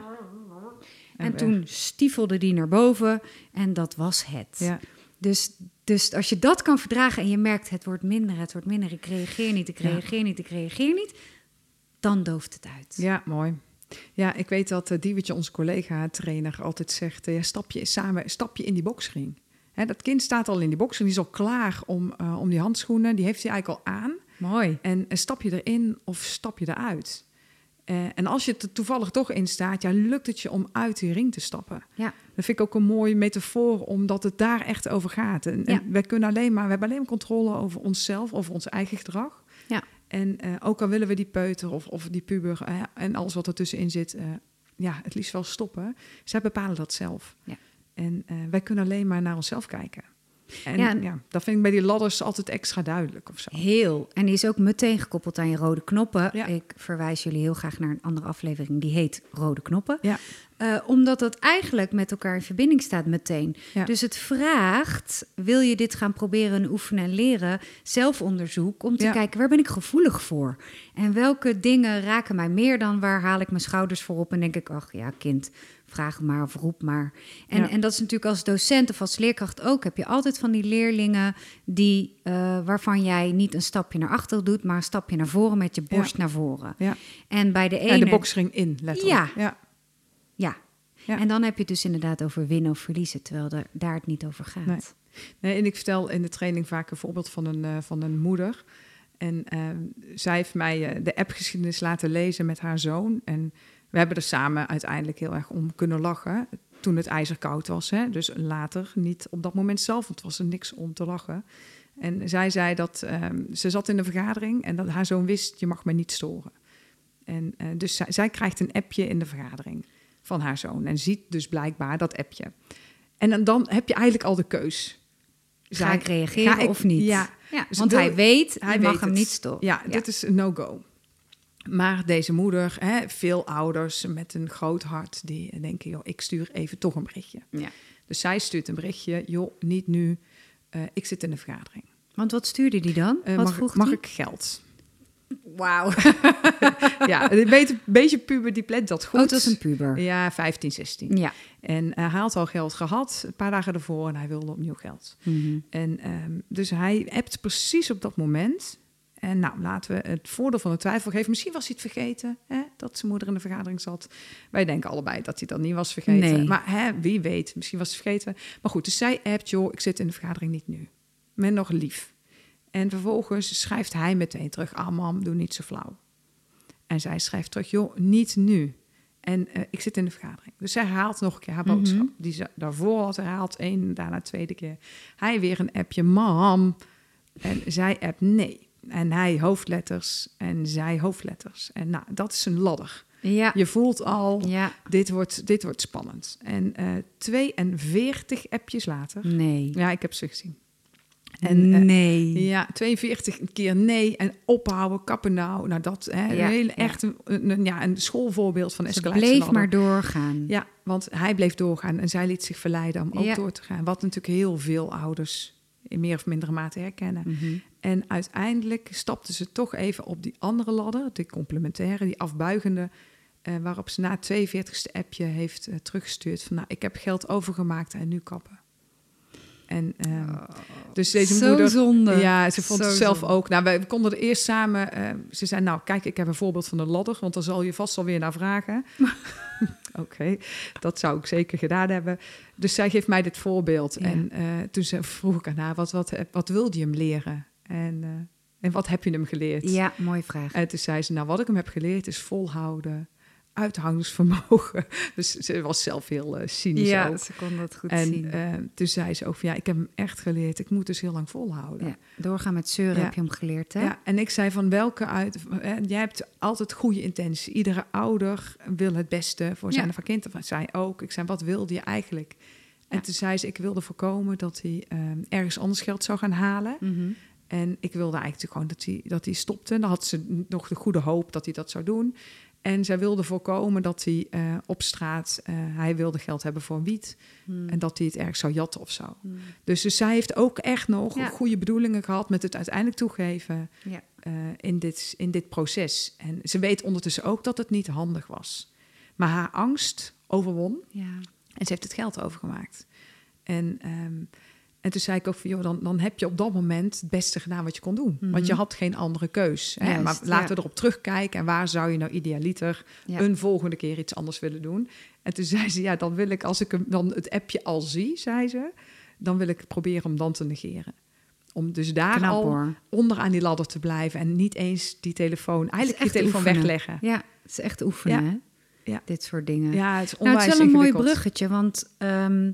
Speaker 1: En toen stiefelde die naar boven en dat was het.
Speaker 2: Ja.
Speaker 1: Dus, dus als je dat kan verdragen en je merkt het wordt minder, het wordt minder, ik reageer niet, ik
Speaker 2: Ja.
Speaker 1: reageer niet, ik reageer niet, dan dooft het uit.
Speaker 2: Ja, mooi. Ja, ik weet dat eh, Diewertje, onze collega-trainer, altijd zegt... eh, ja, stap, je samen, stap je in die boksring. Hè, dat kind staat al in die boksring, die is al klaar om, eh, om die handschoenen. Die heeft hij eigenlijk al aan.
Speaker 1: Mooi.
Speaker 2: En eh, stap je erin of stap je eruit? Eh, en als je er toevallig toch in staat, ja, lukt het je om uit die ring te stappen.
Speaker 1: Ja.
Speaker 2: Dat vind ik ook een mooie metafoor, omdat het daar echt over gaat. En, en
Speaker 1: Ja.
Speaker 2: wij kunnen alleen maar, we hebben alleen maar controle over onszelf, over ons eigen gedrag.
Speaker 1: Ja.
Speaker 2: En eh, ook al willen we die peuter of, of die puber eh, en alles wat ertussenin zit, eh, ja, het liefst wel stoppen. Zij bepalen dat zelf.
Speaker 1: Ja.
Speaker 2: En eh, wij kunnen alleen maar naar onszelf kijken. En
Speaker 1: Ja,
Speaker 2: ja,
Speaker 1: en-
Speaker 2: dat vind ik bij die ladders altijd extra duidelijk of zo.
Speaker 1: Heel. En die is ook meteen gekoppeld aan je rode knoppen.
Speaker 2: Ja.
Speaker 1: Ik verwijs jullie heel graag naar een andere aflevering die heet Rode Knoppen.
Speaker 2: Ja.
Speaker 1: Eh, omdat dat eigenlijk met elkaar in verbinding staat meteen.
Speaker 2: Ja.
Speaker 1: Dus het vraagt, wil je dit gaan proberen en oefenen en leren, zelfonderzoek om te
Speaker 2: Ja.
Speaker 1: kijken waar ben ik gevoelig voor? En welke dingen raken mij meer dan waar haal ik mijn schouders voor op en denk ik, ach ja kind, vraag maar of roep maar. En,
Speaker 2: Ja.
Speaker 1: en dat is natuurlijk als docent of als leerkracht ook, heb je altijd van die leerlingen die, eh, waarvan jij niet een stapje naar achter doet, maar een stapje naar voren met je
Speaker 2: Ja.
Speaker 1: borst naar voren.
Speaker 2: Ja.
Speaker 1: En bij de ene...
Speaker 2: En Nou, de boksring in, letterlijk.
Speaker 1: Ja.
Speaker 2: ja.
Speaker 1: Ja.
Speaker 2: Ja.
Speaker 1: En dan heb je het dus inderdaad over winnen of verliezen, terwijl daar- daar het niet over gaat. Dus
Speaker 2: Nee. Nee, en ik vertel in de training vaak een voorbeeld van een, eh, van een moeder. En ehm, zij heeft mij eh, de appgeschiedenis laten lezen met haar zoon. En we hebben er samen uiteindelijk heel erg om kunnen lachen. Toen het ijzerkoud was. Hè? Dus later, niet op dat moment zelf, want het was er niks om te lachen. En zij zei dat ehm, ze zat in een vergadering en dat haar zoon wist: je mag me niet storen. En eh, dus zij, zij krijgt een appje in de vergadering van haar zoon. En ziet dus blijkbaar dat appje. En dan, dan heb je eigenlijk al de keus.
Speaker 1: Ga
Speaker 2: Zij-
Speaker 1: ik reageren
Speaker 2: ga ik-
Speaker 1: of niet?
Speaker 2: Ja, Dus
Speaker 1: want
Speaker 2: wil-
Speaker 1: hij weet,
Speaker 2: hij
Speaker 1: je
Speaker 2: weet
Speaker 1: mag hem
Speaker 2: het.
Speaker 1: niet storen.
Speaker 2: Ja, dit is een no-go. Maar deze moeder, hè, veel ouders met een groot hart, die denken, joh, ik stuur even toch een berichtje.
Speaker 1: Ja.
Speaker 2: Dus zij stuurt een berichtje, joh, niet nu, Eh, ik zit in een vergadering.
Speaker 1: Want wat stuurde die dan?
Speaker 2: Eh,
Speaker 1: wat
Speaker 2: mag
Speaker 1: vroeg
Speaker 2: ik, mag
Speaker 1: die? Oh,
Speaker 2: ik geld?
Speaker 1: Wauw.
Speaker 2: ja, een beetje, beetje puber, die plant dat goed.
Speaker 1: Oh, het was een puber.
Speaker 2: Ja, 15, 16.
Speaker 1: Ja.
Speaker 2: En hij had al geld gehad, een paar dagen ervoor, en hij wilde opnieuw geld.
Speaker 1: Mhm.
Speaker 2: En ehm, dus hij appt precies op dat moment. En nou, laten we het voordeel van de twijfel geven. Misschien was hij het vergeten, hè, dat zijn moeder in de vergadering zat. Wij denken allebei dat hij dat niet was vergeten.
Speaker 1: Nee.
Speaker 2: Maar hè, wie weet, misschien was hij het vergeten. Maar goed, dus zij appt, joh, ik zit in de vergadering niet nu. Men nog lief. En vervolgens schrijft hij meteen terug, ah mam, doe niet zo flauw. En zij schrijft terug, joh, niet nu. En eh, ik zit in de vergadering. Dus zij haalt nog een keer haar boodschap. Die ze daarvoor had herhaald. Eén, daarna tweede keer. Hij weer een appje, mam. En zij appt nee. En hij hoofdletters en zij hoofdletters. En nou, dat is een ladder.
Speaker 1: Ja.
Speaker 2: Je voelt al,
Speaker 1: Ah. ja.
Speaker 2: dit, wordt, dit wordt spannend. En eh 42 appjes later.
Speaker 1: Nee.
Speaker 2: Ja, ik heb ze gezien. En, eh,
Speaker 1: nee.
Speaker 2: ja, 42 keer nee en ophouden, kappen nou. Nou, dat hè,
Speaker 1: Ja,
Speaker 2: een hele,
Speaker 1: ja.
Speaker 2: echt een, een- ja, een schoolvoorbeeld van
Speaker 1: Ze
Speaker 2: escalatie.
Speaker 1: bleef maar doorgaan.
Speaker 2: Ja, want hij bleef doorgaan en zij liet zich verleiden om ook
Speaker 1: Ja.
Speaker 2: door te gaan. Wat natuurlijk heel veel ouders in meer of mindere mate herkennen.
Speaker 1: Mhm.
Speaker 2: En uiteindelijk stapte ze toch even op die andere ladder, die complementaire, die afbuigende. eh, waarop ze na het 42e appje heeft eh, teruggestuurd van... nou, ik heb geld overgemaakt en nu kappen. En, ehm, dus deze
Speaker 1: Oh, Zo
Speaker 2: moeder...
Speaker 1: zonde.
Speaker 2: Ja, ze vond
Speaker 1: Zo
Speaker 2: het zelf
Speaker 1: zonde.
Speaker 2: ook. Nou, wij- we konden er eerst samen... eh, ze zei, nou, kijk, ik heb een voorbeeld van de ladder... want dan zal je vast alweer naar vragen. Oké, dat zou ik zeker gedaan hebben. Dus zij geeft mij dit voorbeeld.
Speaker 1: Ja.
Speaker 2: En eh, toen ze, vroeg ik aan haar, wat, wat, eh, wat wilde je hem leren? En, eh, en wat heb je hem geleerd?
Speaker 1: Ja, mooie vraag.
Speaker 2: En toen zei ze, nou wat ik hem heb geleerd is volhouden, uithoudingsvermogen. Dus ze was zelf heel eh, cynisch ook.
Speaker 1: ze kon dat goed
Speaker 2: en
Speaker 1: zien.
Speaker 2: eh, toen zei ze ook van, ja, ik heb hem echt geleerd. Ik moet dus heel lang volhouden.
Speaker 1: ja. Doorgaan met zeuren
Speaker 2: Ja.
Speaker 1: heb je hem geleerd, hè?
Speaker 2: Ja, en ik zei van welke uit. eh, Jij hebt altijd goede intentie. Iedere ouder wil het beste voor zijn
Speaker 1: Ja.
Speaker 2: of haar kind. Dat zei ook. Ik zei, wat wilde je eigenlijk? En
Speaker 1: Ja.
Speaker 2: ehm, toen zei ze, ik wilde voorkomen dat hij eh, ergens anders geld zou gaan halen.
Speaker 1: Mhm.
Speaker 2: En ik wilde eigenlijk gewoon dat hij, dat hij stopte. En dan had ze nog de goede hoop dat hij dat zou doen. En zij wilde voorkomen dat hij eh, op straat... eh, hij wilde geld hebben voor een wiet. En dat hij het erg zou jatten of zo.
Speaker 1: Hmm.
Speaker 2: Dus, dus zij heeft ook echt nog
Speaker 1: Ja.
Speaker 2: goede bedoelingen gehad... met het uiteindelijk toegeven
Speaker 1: Ja.
Speaker 2: eh, in, dit, in dit proces. En ze weet ondertussen ook dat het niet handig was. Maar haar angst overwon.
Speaker 1: Ja.
Speaker 2: En ze heeft het geld overgemaakt. En, ehm, en toen zei ik ook van, joh, dan, dan heb je op dat moment het beste gedaan wat je kon doen.
Speaker 1: Mhm.
Speaker 2: Want je had geen andere keus. Hè?
Speaker 1: Juist,
Speaker 2: maar laten
Speaker 1: ja.
Speaker 2: we erop terugkijken. En waar zou je nou idealiter
Speaker 1: Ja.
Speaker 2: een volgende keer iets anders willen doen? En toen zei ze, ja, dan wil ik, als ik hem, dan het appje al zie, zei ze... dan wil ik proberen om dan te negeren. Om dus daar
Speaker 1: Knap
Speaker 2: al
Speaker 1: hoor.
Speaker 2: onder aan die ladder te blijven... en niet eens die telefoon, eigenlijk je
Speaker 1: echt
Speaker 2: telefoon
Speaker 1: oefenen.
Speaker 2: wegleggen.
Speaker 1: Ja, het is echt oefenen,
Speaker 2: Ja.
Speaker 1: hè?
Speaker 2: Ja.
Speaker 1: Dit soort dingen.
Speaker 2: Ja, het is
Speaker 1: nou,
Speaker 2: onwijs
Speaker 1: het is wel een mooi
Speaker 2: ingewikkeld.
Speaker 1: bruggetje, want ehm,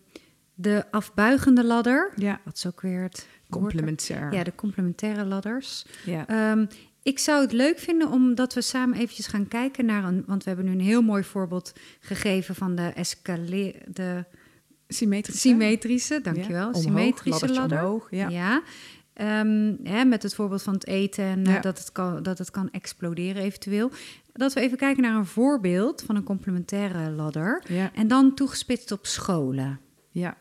Speaker 1: de afbuigende ladder,
Speaker 2: Ja,
Speaker 1: wat is ook weer het woord-
Speaker 2: complementair.
Speaker 1: Ja, de complementaire ladders.
Speaker 2: ja.
Speaker 1: Ehm, ik zou het leuk vinden omdat we samen eventjes gaan kijken naar een... Want we hebben nu een heel mooi voorbeeld gegeven van de, escale, de
Speaker 2: Symmetrisch. hè?
Speaker 1: symmetrische, dankjewel,
Speaker 2: Ja, omhoog,
Speaker 1: symmetrische
Speaker 2: laddertje
Speaker 1: ladder.
Speaker 2: omhoog, ja.
Speaker 1: Ehm, hè, met het voorbeeld van het eten en eh,
Speaker 2: Ja.
Speaker 1: dat, het kan, dat het kan exploderen eventueel. Dat we even kijken naar een voorbeeld van een complementaire ladder.
Speaker 2: Ja.
Speaker 1: En dan toegespitst op scholen.
Speaker 2: Ja.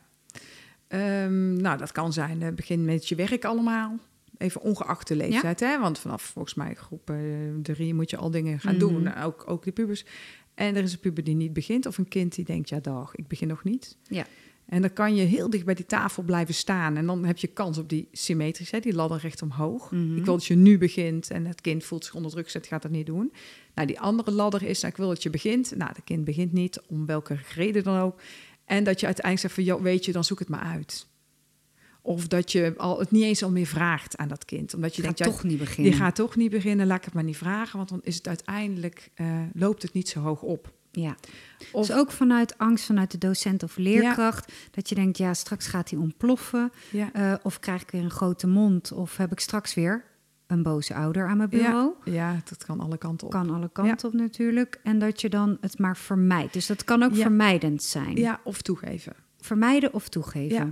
Speaker 2: Ehm, nou, dat kan zijn. eh, begin met je werk allemaal. Even ongeacht de leeftijd, hè? Want vanaf volgens mij groep eh, drie moet je al dingen gaan
Speaker 1: Mhm.
Speaker 2: doen. Ook, ook die pubers. En er is een puber die niet begint. Of een kind die denkt, ja dag, ik begin nog niet.
Speaker 1: Ja.
Speaker 2: En dan kan je heel dicht bij die tafel blijven staan. En dan heb je kans op die symmetrisch, hè, die ladder recht omhoog.
Speaker 1: Mhm.
Speaker 2: Ik wil dat je nu begint en het kind voelt zich onder druk gezet, gaat dat niet doen. Nou, die andere ladder is, nou, ik wil dat je begint. Nou, dat kind begint niet, om welke reden dan ook. En dat je uiteindelijk zegt van, joh, weet je, dan zoek het maar uit. Of dat je al, het niet eens al meer vraagt aan dat kind. Omdat je
Speaker 1: Je gaat
Speaker 2: denkt, ja,
Speaker 1: toch niet beginnen.
Speaker 2: je gaat toch niet beginnen, laat ik het maar niet vragen. Want dan is het uiteindelijk, eh, loopt het niet zo hoog op.
Speaker 1: Ja.
Speaker 2: Of-
Speaker 1: dus ook vanuit angst vanuit de docent of leerkracht. Dat je denkt, ja, straks gaat hij ontploffen.
Speaker 2: Ja.
Speaker 1: Eh, of krijg ik weer een grote mond. Of heb ik straks weer een boze ouder aan mijn bureau.
Speaker 2: Ja, ja, dat kan alle kanten op.
Speaker 1: Kan alle kanten op natuurlijk. En dat je dan het maar vermijdt. Dus dat kan ook
Speaker 2: Ja.
Speaker 1: vermijdend zijn.
Speaker 2: Ja, of toegeven.
Speaker 1: Vermijden of toegeven.
Speaker 2: Ja.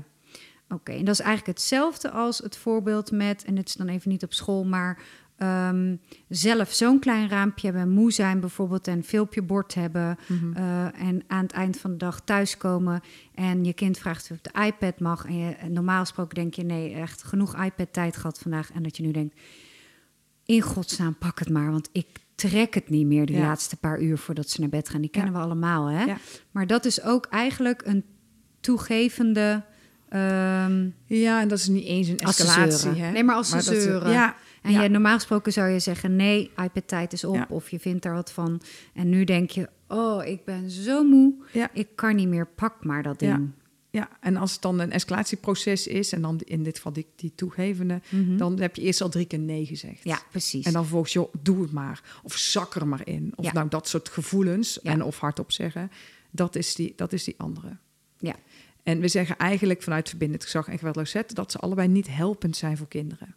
Speaker 1: Oké, en dat is eigenlijk hetzelfde als het voorbeeld met... en het is dan even niet op school, maar... ehm, zelf zo'n klein raampje hebben, moe zijn bijvoorbeeld... en filmpje bord hebben...
Speaker 2: Mhm.
Speaker 1: Eh, en aan het eind van de dag thuiskomen en je kind vraagt of het de iPad mag. En, je, en normaal gesproken denk je, nee, echt genoeg iPad-tijd gehad vandaag. En dat je nu denkt, in godsnaam, pak het maar. Want ik trek het niet meer de
Speaker 2: Ja.
Speaker 1: laatste paar uur voordat ze naar bed gaan. Die kennen
Speaker 2: Ja.
Speaker 1: we allemaal, hè?
Speaker 2: Ja.
Speaker 1: Maar dat is ook eigenlijk een toegevende... ehm,
Speaker 2: Ja, en dat is niet eens een
Speaker 1: Als ze
Speaker 2: escalatie.
Speaker 1: zeuren.
Speaker 2: Hè?
Speaker 1: Nee, maar als ze
Speaker 2: dat ze-
Speaker 1: zeuren.
Speaker 2: Ja,
Speaker 1: en
Speaker 2: ja.
Speaker 1: je, normaal gesproken zou je zeggen, nee, iPad-tijd is op.
Speaker 2: Ja.
Speaker 1: Of je vindt daar wat van. En nu denk je, oh, ik ben zo moe.
Speaker 2: Ja.
Speaker 1: Ik kan niet meer, pak maar dat ding.
Speaker 2: Ja. ja, en als het dan een escalatieproces is, en dan in dit geval die, die toegevende, dan heb je eerst al drie keer nee gezegd.
Speaker 1: Mhm. Ja, precies.
Speaker 2: En dan volgens joh, doe het maar. Of zak er maar in. Of
Speaker 1: Ja.
Speaker 2: nou dat soort gevoelens.
Speaker 1: Ja.
Speaker 2: En of hardop zeggen. Dat is die, dat is die andere.
Speaker 1: ja.
Speaker 2: En we zeggen eigenlijk vanuit verbindend gezag en geweldloos zetten dat ze allebei niet helpend zijn voor kinderen.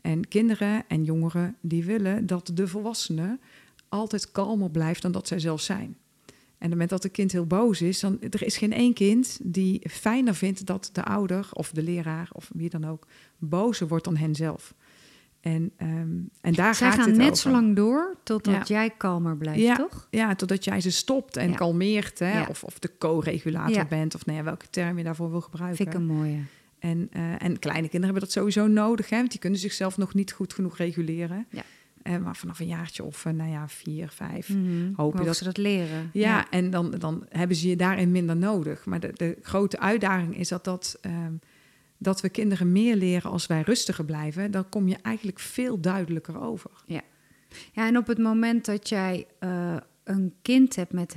Speaker 2: En kinderen en jongeren die willen dat de volwassene altijd kalmer blijft dan dat zij zelf zijn. En op het moment dat een kind heel boos is, dan er is geen één kind die fijner vindt dat de ouder of de leraar of wie dan ook bozer wordt dan henzelf. En, ehm, en daar
Speaker 1: Zij
Speaker 2: gaat
Speaker 1: gaan
Speaker 2: dit
Speaker 1: net
Speaker 2: over.
Speaker 1: zo lang door totdat jij kalmer blijft,
Speaker 2: Ja.
Speaker 1: toch?
Speaker 2: Ja, totdat jij ze stopt en
Speaker 1: Ja.
Speaker 2: kalmeert. Hè?
Speaker 1: Ja.
Speaker 2: Of, of de co-regulator
Speaker 1: Ja.
Speaker 2: bent. Of nou ja, welke term je daarvoor wil gebruiken.
Speaker 1: Vind ik een mooie.
Speaker 2: En, eh, en kleine kinderen hebben dat sowieso nodig, hè, want die kunnen zichzelf nog niet goed genoeg reguleren.
Speaker 1: Ja.
Speaker 2: Eh, maar vanaf een jaartje of eh, nou ja, vier, vijf, Mhm. hoop je
Speaker 1: Mogen
Speaker 2: dat.
Speaker 1: ze dat leren?
Speaker 2: Mm, Ja, en dan, dan hebben ze je daarin minder nodig. Maar de, de grote uitdaging is dat, dat, ehm, dat we kinderen meer leren als wij rustiger blijven. Dan kom je eigenlijk veel duidelijker over.
Speaker 1: Ja, en op het moment dat jij eh, een kind hebt met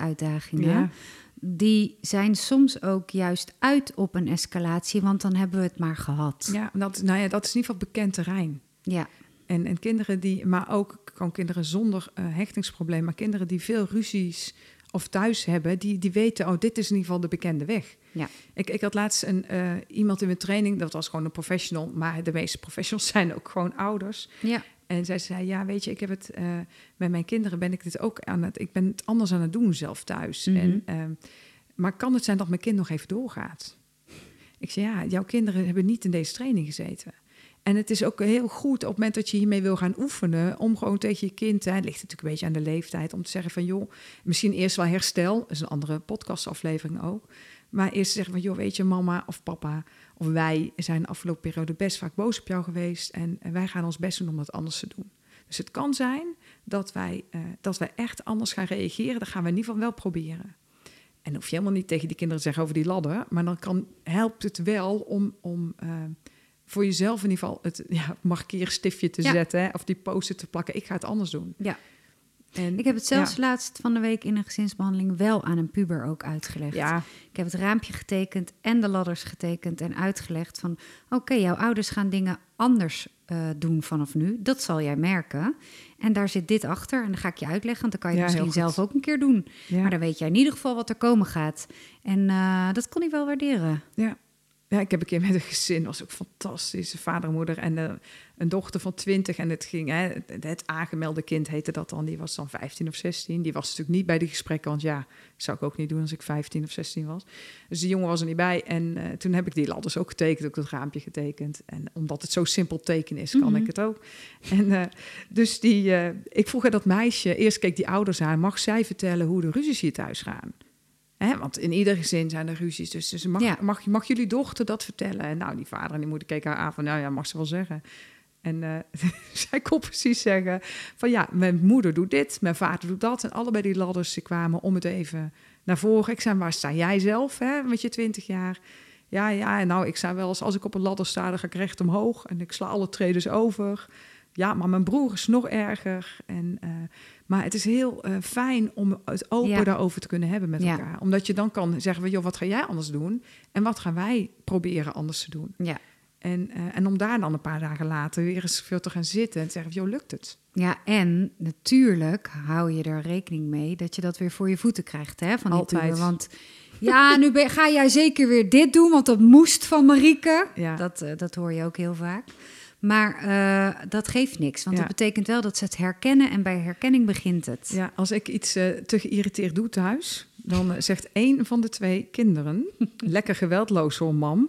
Speaker 1: hechtingsuitdagingen,
Speaker 2: Ja.
Speaker 1: die zijn soms ook juist uit op een escalatie, want dan hebben we het maar gehad.
Speaker 2: Ja, dat, nou ja, dat is in ieder geval bekend terrein.
Speaker 1: Ja,
Speaker 2: En, en kinderen die, maar ook gewoon kinderen zonder eh hechtingsprobleem, maar kinderen die veel ruzies of thuis hebben, die, die weten, oh, dit is in ieder geval de bekende weg.
Speaker 1: ja,
Speaker 2: Ik, ik had laatst een, eh, iemand in mijn training, dat was gewoon een professional, maar de meeste professionals zijn ook gewoon ouders.
Speaker 1: ja.
Speaker 2: En zij zei, ja, weet je, ik heb het eh, met mijn kinderen ben ik dit ook aan het, ik ben het anders aan het doen zelf thuis.
Speaker 1: Mhm.
Speaker 2: en, ehm, maar kan het zijn dat mijn kind nog even doorgaat? Ik zei, ja, jouw kinderen hebben niet in deze training gezeten. En het is ook heel goed op het moment dat je hiermee wil gaan oefenen, om gewoon tegen je kind, hè, het ligt natuurlijk een beetje aan de leeftijd, om te zeggen van joh, misschien eerst wel herstel, dat is een andere podcastaflevering ook. Maar eerst zeggen van joh, weet je, mama of papa of wij zijn de afgelopen periode best vaak boos op jou geweest en eh, wij gaan ons best doen om dat anders te doen. Dus het kan zijn dat wij, eh, dat wij echt anders gaan reageren, dat gaan we in ieder geval wel proberen. En dan hoef je helemaal niet tegen die kinderen te zeggen over die ladder, maar dan kan, helpt het wel om, om eh, voor jezelf in ieder geval het ja, markeerstiftje te
Speaker 1: Ja.
Speaker 2: zetten. Hè? Of die poster te plakken. Ik ga het anders doen.
Speaker 1: Ja.
Speaker 2: En,
Speaker 1: Ik heb het zelfs laatst van de week in een gezinsbehandeling wel aan een puber ook uitgelegd.
Speaker 2: Ja,
Speaker 1: Ik heb het raampje getekend en de ladders getekend en uitgelegd van... oké, jouw ouders gaan dingen anders eh, doen vanaf nu. Dat zal jij merken. En daar zit dit achter en dan ga ik je uitleggen... want dan kan je
Speaker 2: Ja,
Speaker 1: het misschien
Speaker 2: heel goed.
Speaker 1: zelf ook een keer doen.
Speaker 2: ja.
Speaker 1: Maar dan weet jij in ieder geval wat er komen gaat. En eh, dat kon hij wel waarderen.
Speaker 2: Ja. ja, ik heb een keer met een gezin, was ook fantastisch. Een vader en moeder en eh, een dochter van 20. En het ging, hè, het- het aangemelde kind heette dat dan. Die was dan 15 of 16. Die was natuurlijk niet bij de gesprekken, want ja, zou ik ook niet doen als ik 15 of 16 was. Dus die jongen was er niet bij. En eh, toen heb ik die ladders ook getekend, ook dat raampje getekend. En omdat het zo simpel teken is, kan
Speaker 1: Mhm.
Speaker 2: ik het ook. En eh, dus die, eh, ik vroeg aan dat meisje, eerst keek die ouders aan, mag zij vertellen hoe de ruzies hier thuis gaan? Hè, want in ieder gezin zijn er ruzies, dus, dus mag,
Speaker 1: Ja.
Speaker 2: mag, mag jullie dochter dat vertellen? En nou, die vader en die moeder keken haar aan van, nou ja, mag ze wel zeggen. En eh, zij kon precies zeggen van, ja, mijn moeder doet dit, mijn vader doet dat. En allebei die ladders die kwamen om het even naar voren. Ik zei, waar sta jij zelf hè, met je twintig jaar? Ja, ja, en nou, ik sta wel eens, als ik op een ladder sta, dan ga ik recht omhoog. En ik sla alle tredes over. Ja, maar mijn broer is nog erger. En, eh, maar het is heel eh, fijn om het open
Speaker 1: Ja.
Speaker 2: daarover te kunnen hebben met
Speaker 1: Ja.
Speaker 2: elkaar. Omdat je dan kan zeggen, van, joh, wat ga jij anders doen? En wat gaan wij proberen anders te doen?
Speaker 1: Ja.
Speaker 2: En, eh, en om daar dan een paar dagen later weer eens veel te gaan zitten en te zeggen, van, joh, lukt het?
Speaker 1: Ja, en natuurlijk hou je er rekening mee dat je dat weer voor je voeten krijgt, hè? Van die
Speaker 2: Altijd.
Speaker 1: puber. Want ja, nu ben- ga jij zeker weer dit doen, want dat moest van Marieke.
Speaker 2: Ja.
Speaker 1: Dat, eh, dat hoor je ook heel vaak. Maar eh, dat geeft niks, want
Speaker 2: Ja.
Speaker 1: dat betekent wel dat ze het herkennen en bij herkenning begint het.
Speaker 2: Ja, als ik iets eh, te geïrriteerd doe thuis, dan eh, zegt één van de twee kinderen: Lekker geweldloos hoor, mam.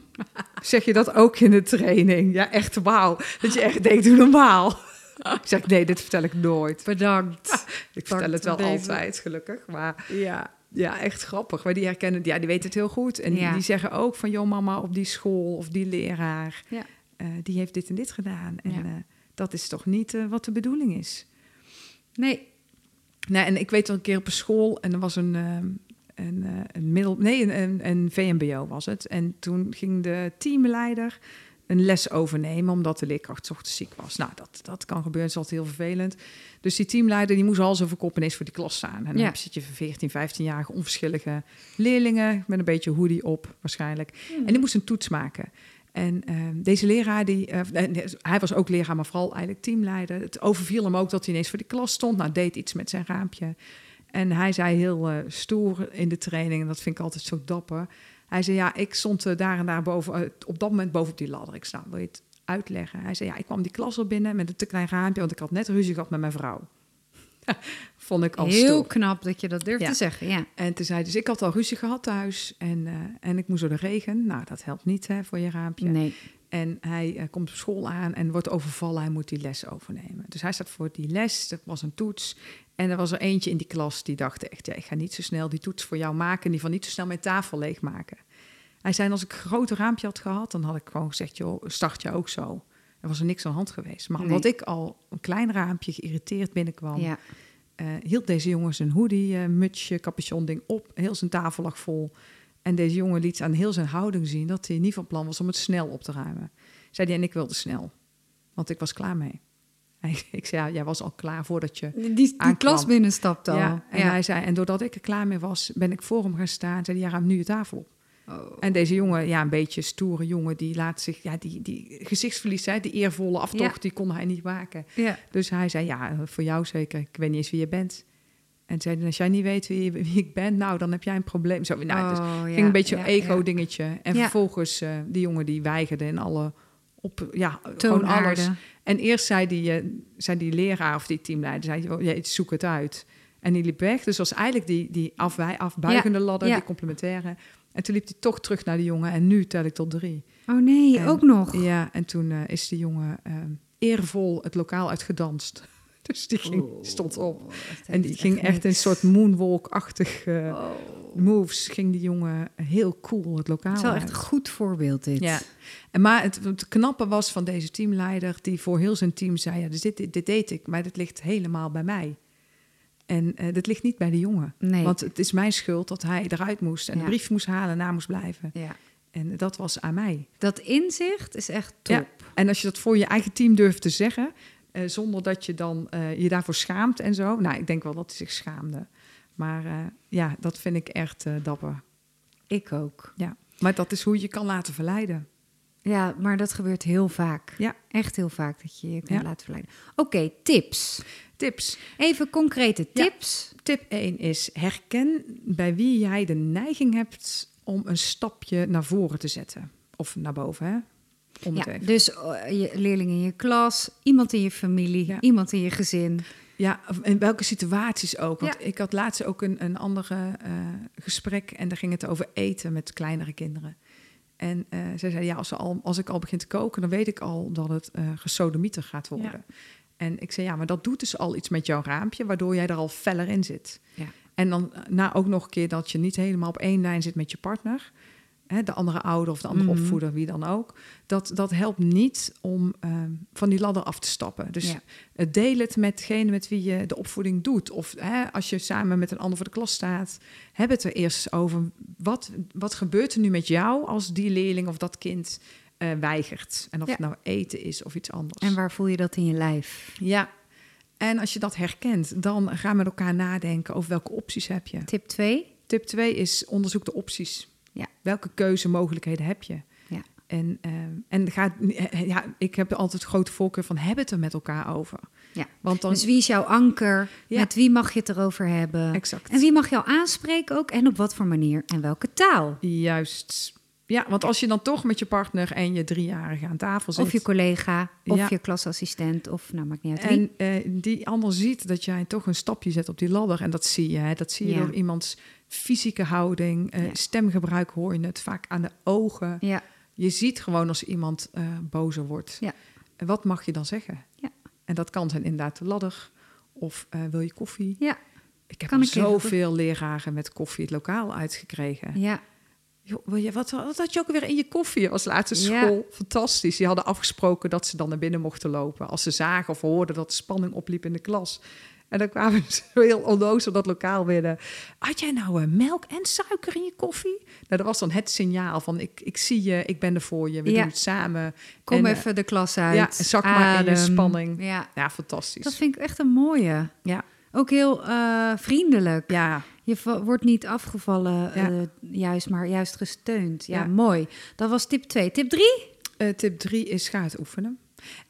Speaker 2: Zeg je dat ook in de training? Ja, echt wauw. Dat je echt denkt: Doe normaal. Ik zeg: Nee, dit vertel ik nooit.
Speaker 1: Bedankt.
Speaker 2: Ik vertel het wel
Speaker 1: voor deze.
Speaker 2: altijd, gelukkig. Maar
Speaker 1: ja.
Speaker 2: ja, echt grappig. Maar die herkennen, ja, die weten het heel goed. En die-
Speaker 1: Ja.
Speaker 2: die zeggen ook: van joh, mama, op die school of die leraar,
Speaker 1: Ja.
Speaker 2: eh, die heeft dit en dit gedaan. En
Speaker 1: Ja.
Speaker 2: eh, dat is toch niet eh, wat de bedoeling is?
Speaker 1: Nee,
Speaker 2: Nee, en ik weet al een keer op een school en er was een, ehm, een, eh, een middel, nee, een, een, een VMBO was het. En toen ging de teamleider een les overnemen omdat de leerkracht 's ochtends ziek was. Nou, dat, dat kan gebeuren, dat is altijd heel vervelend. Dus die teamleider die moest al zijn verkoppen ineens voor die klas staan. En dan
Speaker 1: Ja.
Speaker 2: heb je- zit je van 14, 15-jarige onverschillige leerlingen met een beetje hoodie op waarschijnlijk. En die moest een toets maken. En ehm, deze leraar, die, eh, nee, nee, hij was ook leraar, maar vooral eigenlijk teamleider. Het overviel hem ook dat hij ineens voor de klas stond. Nou, deed iets met zijn raampje. En hij zei heel eh, stoer in de training, en dat vind ik altijd zo dapper. Hij zei, ja, ik stond eh, daar en daar boven, eh, op dat moment boven op die ladder. Ik sta, wil je het uitleggen? Hij zei, ja, ik kwam die klas al binnen met een te klein raampje, want ik had net ruzie gehad met mijn vrouw. Vond ik al
Speaker 1: heel
Speaker 2: stoer.
Speaker 1: knap dat je dat durft
Speaker 2: Ja.
Speaker 1: te zeggen. Ja.
Speaker 2: En toen zei hij, dus ik had al ruzie gehad thuis en, eh, en ik moest door de regen. Nou, dat helpt niet hè, voor je raampje.
Speaker 1: Nee.
Speaker 2: En hij eh, komt op school aan en wordt overvallen. Hij moet die les overnemen. Dus hij staat voor die les. Dat was een toets. En er was er eentje in die klas die dacht echt... Ja, ik ga niet zo snel die toets voor jou maken... en die van niet zo snel mijn tafel leegmaken. Hij zei, als ik een groot raampje had gehad... dan had ik gewoon gezegd, joh, start je ook zo. Er was er niks aan de hand geweest. Maar
Speaker 1: Nee.
Speaker 2: omdat ik al een klein raampje geïrriteerd binnenkwam...
Speaker 1: Ja.
Speaker 2: Eh, hield deze jongen zijn hoodie, eh, mutsje, capuchon ding op. Heel zijn tafel lag vol. En deze jongen liet aan heel zijn houding zien dat hij niet van plan was om het snel op te ruimen. Zei hij, en ik wilde snel. Want ik was klaar mee. Hij- ik zei, ja, jij was al klaar voordat je...
Speaker 1: Die, die
Speaker 2: Aankwam.
Speaker 1: klas binnenstapt al.
Speaker 2: Ja,
Speaker 1: Ja.
Speaker 2: en hij zei, en doordat ik er klaar mee was, ben ik voor hem gaan staan. Zei hij, ja, ruim nu je tafel op.
Speaker 1: Oh.
Speaker 2: En deze jongen, ja, een beetje stoere jongen, die laat zich... Ja, die, die gezichtsverlies, hè, die eervolle aftocht,
Speaker 1: Ja.
Speaker 2: die kon hij niet maken.
Speaker 1: ja.
Speaker 2: Dus hij zei, ja, voor jou zeker. Ik weet niet eens wie je bent. En zei, hij, als jij niet weet wie, wie ik ben, nou, dan heb jij een probleem. Zo, nou, dus
Speaker 1: Oh,
Speaker 2: ging
Speaker 1: ja,
Speaker 2: een beetje
Speaker 1: ja, ja.
Speaker 2: ego-dingetje. En
Speaker 1: Ja.
Speaker 2: vervolgens, eh, die jongen die weigerde in alle... Op, ja, gewoon alles.
Speaker 1: Toonaarden.
Speaker 2: En eerst zei die, eh, zei die leraar of die teamleider, zei, oh, je, zoek het uit. En die liep weg. Dus was eigenlijk die, die afwij, afbuigende ladder,
Speaker 1: ja.
Speaker 2: die complementaire. En toen liep hij toch terug naar de jongen. En nu tel ik tot drie.
Speaker 1: Oh nee,
Speaker 2: En-
Speaker 1: ook nog.
Speaker 2: Ja, en toen eh, is de jongen eh, eervol het lokaal uitgedanst. Dus die ging,
Speaker 1: Oh.
Speaker 2: stond op. En die ging echt een soort moonwalk-achtig eh,
Speaker 1: Oh.
Speaker 2: moves. Ging die jongen heel cool het lokaal
Speaker 1: Het is wel
Speaker 2: uit.
Speaker 1: echt een goed voorbeeld dit.
Speaker 2: Ja. En maar het, het knappe was van deze teamleider, die voor heel zijn team zei: ja, dus dit, dit, dit deed ik, maar dit ligt helemaal bij mij. En eh dat ligt niet bij de jongen.
Speaker 1: Nee.
Speaker 2: Want het is mijn schuld dat hij eruit moest en
Speaker 1: Ja.
Speaker 2: de brief moest halen en na moest blijven.
Speaker 1: Ja.
Speaker 2: En dat was aan mij.
Speaker 1: Dat inzicht is echt top.
Speaker 2: Ja. En als je dat voor je eigen team durft te zeggen, eh, zonder dat je dan eh, je daarvoor schaamt en zo. Nou, ik denk wel dat hij zich schaamde. Maar eh, ja, dat vind ik echt eh, dapper.
Speaker 1: Ik ook.
Speaker 2: Ja. Maar dat is hoe je je kan laten verleiden.
Speaker 1: Ja, maar dat gebeurt heel vaak.
Speaker 2: Ja.
Speaker 1: Echt heel vaak dat je je kunt
Speaker 2: Ja.
Speaker 1: laten verleiden. Oké, tips.
Speaker 2: Tips.
Speaker 1: Even concrete
Speaker 2: Ja.
Speaker 1: tips.
Speaker 2: Tip 1 is herken bij wie jij de neiging hebt om een stapje naar voren te zetten. Of naar boven, hè? Om het
Speaker 1: Ja,
Speaker 2: even.
Speaker 1: dus eh, je leerling in je klas, iemand in je familie,
Speaker 2: Ja.
Speaker 1: iemand in je gezin.
Speaker 2: Ja, of in welke situaties ook. Want
Speaker 1: Ja.
Speaker 2: ik had laatst ook een, een ander gesprek en daar ging het over eten met kleinere kinderen. En eh, zij zei, ja, als, ze al, als ik al begin te koken, dan weet ik al dat het eh gesodemieter gaat worden. En ik zei, ja, maar dat doet dus al iets met jouw raampje, waardoor jij er al feller in zit.
Speaker 1: Ja.
Speaker 2: En dan eh, na ook nog een keer dat je niet helemaal op één lijn zit met je partner. Hè, de andere ouder of de andere
Speaker 1: Mhm.
Speaker 2: opvoeder, wie dan ook. Dat, dat helpt niet om ehm, van die ladder af te stappen. Dus
Speaker 1: Ja.
Speaker 2: eh, deel het met degene met wie je de opvoeding doet. Of hè, als je samen met een ander voor de klas staat. Heb het er eerst over. Wat, wat gebeurt er nu met jou als die leerling of dat kind eh, weigert? En of
Speaker 1: Ja.
Speaker 2: het nou eten is of iets anders.
Speaker 1: En waar voel je dat in je lijf?
Speaker 2: Ja. En als je dat herkent, dan ga met elkaar nadenken over welke opties heb je.
Speaker 1: Tip 2.
Speaker 2: Tip 2 is onderzoek de opties.
Speaker 1: Ja.
Speaker 2: Welke keuzemogelijkheden heb je?
Speaker 1: Ja.
Speaker 2: En, eh, en ga, eh, ja, ik heb altijd grote voorkeur van hebben het er met elkaar over.
Speaker 1: Ja.
Speaker 2: Want dan
Speaker 1: Dus wie is jouw anker?
Speaker 2: Ja.
Speaker 1: Met wie mag je het erover hebben?
Speaker 2: exact.
Speaker 1: En wie mag jou aanspreken ook? En op wat voor manier? En welke taal?
Speaker 2: Juist. Ja, want als je dan toch met je partner en je driejarige aan tafel zit.
Speaker 1: Of je collega, of
Speaker 2: Ja.
Speaker 1: je klasassistent, of nou maakt niet uit wie.
Speaker 2: en eh, die ander ziet dat jij toch een stapje zet op die ladder. En dat zie je. Hè? Dat zie je
Speaker 1: Ja.
Speaker 2: door iemands fysieke houding, eh,
Speaker 1: Ja.
Speaker 2: stemgebruik hoor je het vaak aan de ogen.
Speaker 1: Ja,
Speaker 2: Je ziet gewoon als iemand eh, bozer wordt.
Speaker 1: Ja.
Speaker 2: En wat mag je dan zeggen?
Speaker 1: Ja.
Speaker 2: En dat kan zijn inderdaad de ladder. Of eh, wil je koffie?
Speaker 1: ja,
Speaker 2: Ik heb
Speaker 1: Kan
Speaker 2: al
Speaker 1: ik even-
Speaker 2: zoveel leraren met koffie het lokaal uitgekregen.
Speaker 1: ja.
Speaker 2: Joh, wil je, wat, wat had je ook weer in je koffie als laatste
Speaker 1: Ja.
Speaker 2: school? Fantastisch. Die hadden afgesproken dat ze dan naar binnen mochten lopen. Als ze zagen of hoorden dat de spanning opliep in de klas. En dan kwamen ze heel onnozel dat lokaal binnen. Had jij nou eh, melk en suiker in je koffie? Nou, dat was dan het signaal van ik, ik zie je, ik ben er voor je. We
Speaker 1: Ja.
Speaker 2: doen het samen.
Speaker 1: Kom
Speaker 2: En, eh,
Speaker 1: even de klas uit.
Speaker 2: ja, zak maar in je
Speaker 1: Adem.
Speaker 2: spanning.
Speaker 1: Ja,
Speaker 2: Ja, fantastisch.
Speaker 1: dat vind ik echt een mooie.
Speaker 2: Ja.
Speaker 1: Ook heel eh, vriendelijk.
Speaker 2: Ja,
Speaker 1: Je vo- wordt niet afgevallen,
Speaker 2: Ja.
Speaker 1: eh, juist, maar juist gesteund. Ja,
Speaker 2: Ja.
Speaker 1: mooi. Dat was tip 2. Tip 3?
Speaker 2: Eh, tip 3 is ga het oefenen.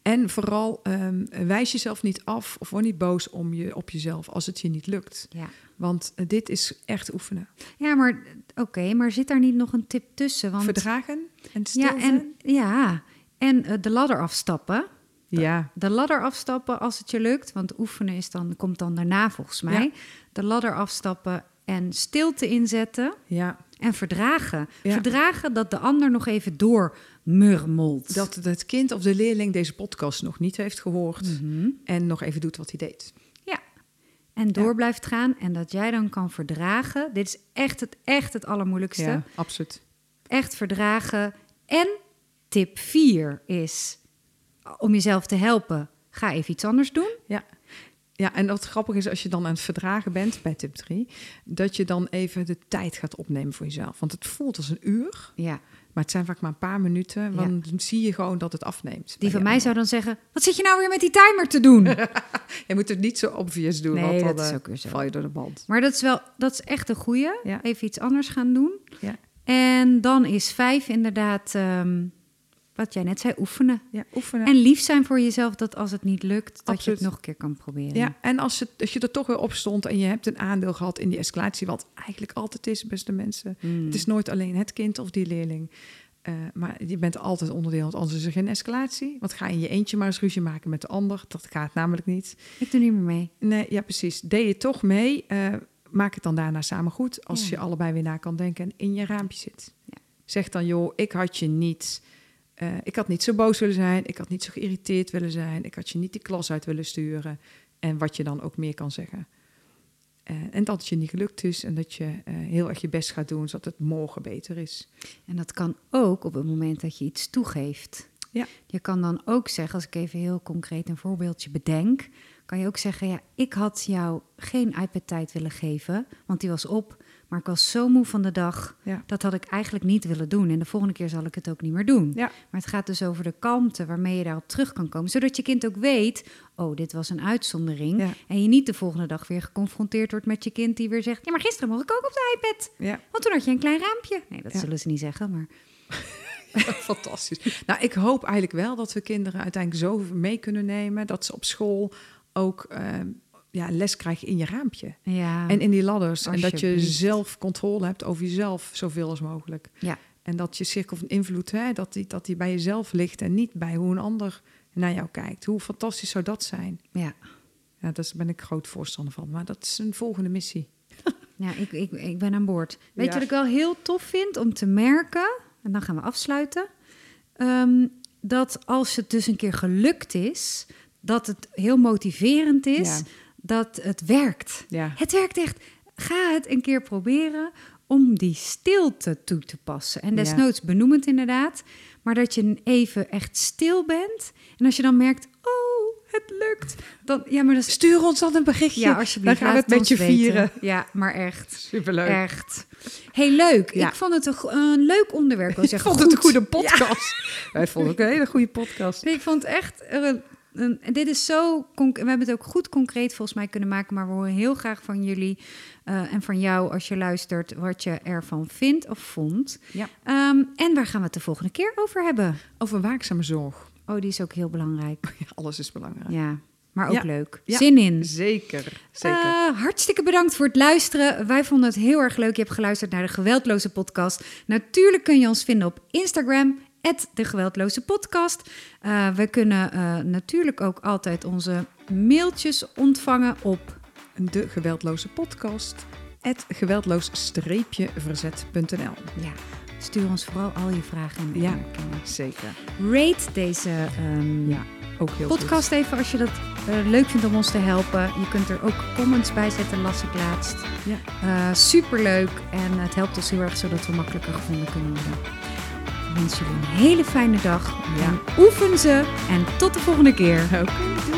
Speaker 2: En vooral ehm, wijs jezelf niet af of word niet boos om je, op jezelf als het je niet lukt.
Speaker 1: Ja.
Speaker 2: Want eh, dit is echt oefenen.
Speaker 1: Ja, maar oké, maar zit daar niet nog een tip tussen? Want,
Speaker 2: Verdragen en stil
Speaker 1: ja,
Speaker 2: zijn.
Speaker 1: en, ja, en eh, de ladder afstappen.
Speaker 2: Ja,
Speaker 1: De ladder afstappen als het je lukt, want oefenen is dan, komt dan daarna volgens mij. De ladder afstappen en stilte inzetten
Speaker 2: ja.
Speaker 1: en verdragen.
Speaker 2: Ja.
Speaker 1: Verdragen dat de ander nog even doormurmelt.
Speaker 2: Dat het kind of de leerling deze podcast nog niet heeft gehoord.
Speaker 1: Mhm.
Speaker 2: En nog even doet wat hij deed.
Speaker 1: Ja. En door blijft gaan en dat jij dan kan verdragen. Dit is echt het, echt het allermoeilijkste.
Speaker 2: absoluut.
Speaker 1: Echt verdragen. En tip 4 is om jezelf te helpen. Ga even iets anders doen.
Speaker 2: Ja. Ja, en wat grappig is als je dan aan het verdragen bent bij tip 3, dat je dan even de tijd gaat opnemen voor jezelf. Want het voelt als een uur,
Speaker 1: Ja.
Speaker 2: maar het zijn vaak maar een paar minuten. Want dan zie je gewoon dat het afneemt.
Speaker 1: Die
Speaker 2: bij
Speaker 1: van
Speaker 2: je
Speaker 1: mij zou dan zeggen: Wat zit je nou weer met die timer te doen?
Speaker 2: Je moet het niet zo obvious doen,
Speaker 1: Nee,
Speaker 2: want dan
Speaker 1: dat is
Speaker 2: eh,
Speaker 1: ook weer zo.
Speaker 2: val je door de band.
Speaker 1: maar dat is wel, dat is echt een goeie.
Speaker 2: Ja.
Speaker 1: Even iets anders gaan doen.
Speaker 2: Ja.
Speaker 1: En dan is 5 inderdaad, ehm, wat jij net zei, oefenen.
Speaker 2: Ja, oefenen.
Speaker 1: En lief zijn voor jezelf dat als het niet lukt, dat je
Speaker 2: Absoluut.
Speaker 1: het nog een keer kan proberen.
Speaker 2: ja, en als, het, als je er toch weer op stond en je hebt een aandeel gehad in die escalatie, wat eigenlijk altijd is, beste mensen.
Speaker 1: Mm.
Speaker 2: Het is nooit alleen het kind of die leerling. Eh, maar je bent altijd onderdeel, want anders is er geen escalatie. Want ga je in je eentje maar eens ruzie maken met de ander. Dat gaat namelijk niet.
Speaker 1: Ik doe niet meer mee.
Speaker 2: Nee, ja, precies. Deed je toch mee, eh, maak het dan daarna samen goed. Als
Speaker 1: Ja.
Speaker 2: je allebei weer na kan denken en in je raampje zit.
Speaker 1: Ja.
Speaker 2: Zeg dan, joh, ik had je niet... eh, ik had niet zo boos willen zijn. Ik had niet zo geïrriteerd willen zijn. Ik had je niet die klas uit willen sturen. En wat je dan ook meer kan zeggen. Eh, en dat het je niet gelukt is. En dat je eh, heel erg je best gaat doen, zodat het morgen beter is.
Speaker 1: En dat kan ook op het moment dat je iets toegeeft.
Speaker 2: Ja.
Speaker 1: Je kan dan ook zeggen, als ik even heel concreet een voorbeeldje bedenk, kan je ook zeggen, ja, ik had jou geen iPad-tijd willen geven, want die was op, maar ik was zo moe van de dag,
Speaker 2: Ja.
Speaker 1: dat had ik eigenlijk niet willen doen. En de volgende keer zal ik het ook niet meer doen.
Speaker 2: Ja.
Speaker 1: Maar het gaat dus over de kalmte waarmee je daarop terug kan komen, zodat je kind ook weet, oh, dit was een uitzondering.
Speaker 2: Ja.
Speaker 1: En je niet de volgende dag weer geconfronteerd wordt met je kind die weer zegt, ja, maar gisteren mocht ik ook op de iPad.
Speaker 2: Ja.
Speaker 1: Want toen had je een klein raampje. Nee, dat
Speaker 2: Ja.
Speaker 1: zullen ze niet zeggen, maar
Speaker 2: Fantastisch. Nou, ik hoop eigenlijk wel dat we kinderen uiteindelijk zo mee kunnen nemen dat ze op school ook eh, ja, les krijgen in je raampje.
Speaker 1: ja.
Speaker 2: En in die ladders. En dat je
Speaker 1: Alsjeblieft.
Speaker 2: zelf controle hebt over jezelf zoveel als mogelijk.
Speaker 1: ja.
Speaker 2: En dat je cirkel van invloed, hè, dat, die, dat die bij jezelf ligt en niet bij hoe een ander naar jou kijkt. Hoe fantastisch zou dat zijn?
Speaker 1: Ja,
Speaker 2: Ja, daar ben ik groot voorstander van. Maar dat is een volgende missie.
Speaker 1: ja ik, ik, ik ben aan boord. Weet
Speaker 2: Ja.
Speaker 1: je wat ik wel heel tof vind om te merken? En dan gaan we afsluiten. Ehm, dat als het dus een keer gelukt is, dat het heel motiverend is,
Speaker 2: Ja.
Speaker 1: dat het werkt.
Speaker 2: Ja.
Speaker 1: Het werkt echt. Ga het een keer proberen om die stilte toe te passen. En
Speaker 2: Ja.
Speaker 1: desnoods benoemend inderdaad. Maar dat je even echt stil bent. En als je dan merkt, oh, het lukt. Dan, ja, maar dat is
Speaker 2: Stuur ons dan een berichtje.
Speaker 1: Ja, alsjeblieft.
Speaker 2: Dan gaan we
Speaker 1: laat
Speaker 2: het met je
Speaker 1: ons weten.
Speaker 2: vieren.
Speaker 1: Ja, maar echt.
Speaker 2: Superleuk.
Speaker 1: Echt. Heel leuk.
Speaker 2: Ja.
Speaker 1: Ik vond het een, go- een leuk onderwerp. Ik
Speaker 2: Ik
Speaker 1: zeggen.
Speaker 2: vond het een
Speaker 1: goed.
Speaker 2: goede podcast. Wij vonden het ook een hele goede podcast.
Speaker 1: Ik vond het echt... Een, een- en dit is zo... conc- We hebben het ook goed concreet volgens mij kunnen maken. Maar we horen heel graag van jullie eh, en van jou als je luistert... wat je ervan vindt of vond.
Speaker 2: Ja.
Speaker 1: Ehm, en waar gaan we het de volgende keer over hebben?
Speaker 2: Over waakzame zorg.
Speaker 1: Oh, die is ook heel belangrijk.
Speaker 2: Ja, alles is belangrijk.
Speaker 1: Ja, maar ook
Speaker 2: Ja.
Speaker 1: leuk.
Speaker 2: Ja.
Speaker 1: Zin in.
Speaker 2: Zeker, zeker.
Speaker 1: Eh, hartstikke bedankt voor het luisteren. Wij vonden het heel erg leuk. Je hebt geluisterd naar de Geweldloze Podcast. Natuurlijk kun je ons vinden op Instagram. @degeweldlozepodcast. de Geweldloze Podcast. we kunnen eh, natuurlijk ook altijd onze mailtjes ontvangen op.
Speaker 2: de geweldloze podcast. Het geweldloos-verzet.nl.
Speaker 1: Ja, stuur ons vooral al je vragen en
Speaker 2: Ja.
Speaker 1: opmerkingen.
Speaker 2: Zeker.
Speaker 1: Rate deze ehm,
Speaker 2: Ja, ook heel
Speaker 1: podcast even als je dat eh, leuk vindt om ons te helpen. Je kunt er ook comments bij zetten, las ik laatst.
Speaker 2: goed. Ja.
Speaker 1: Eh, superleuk en het helpt ons heel erg zodat we makkelijker gevonden kunnen worden. Ik wens jullie een hele fijne dag.
Speaker 2: Ja.
Speaker 1: En oefen ze en tot de volgende keer.
Speaker 2: Oké, doei.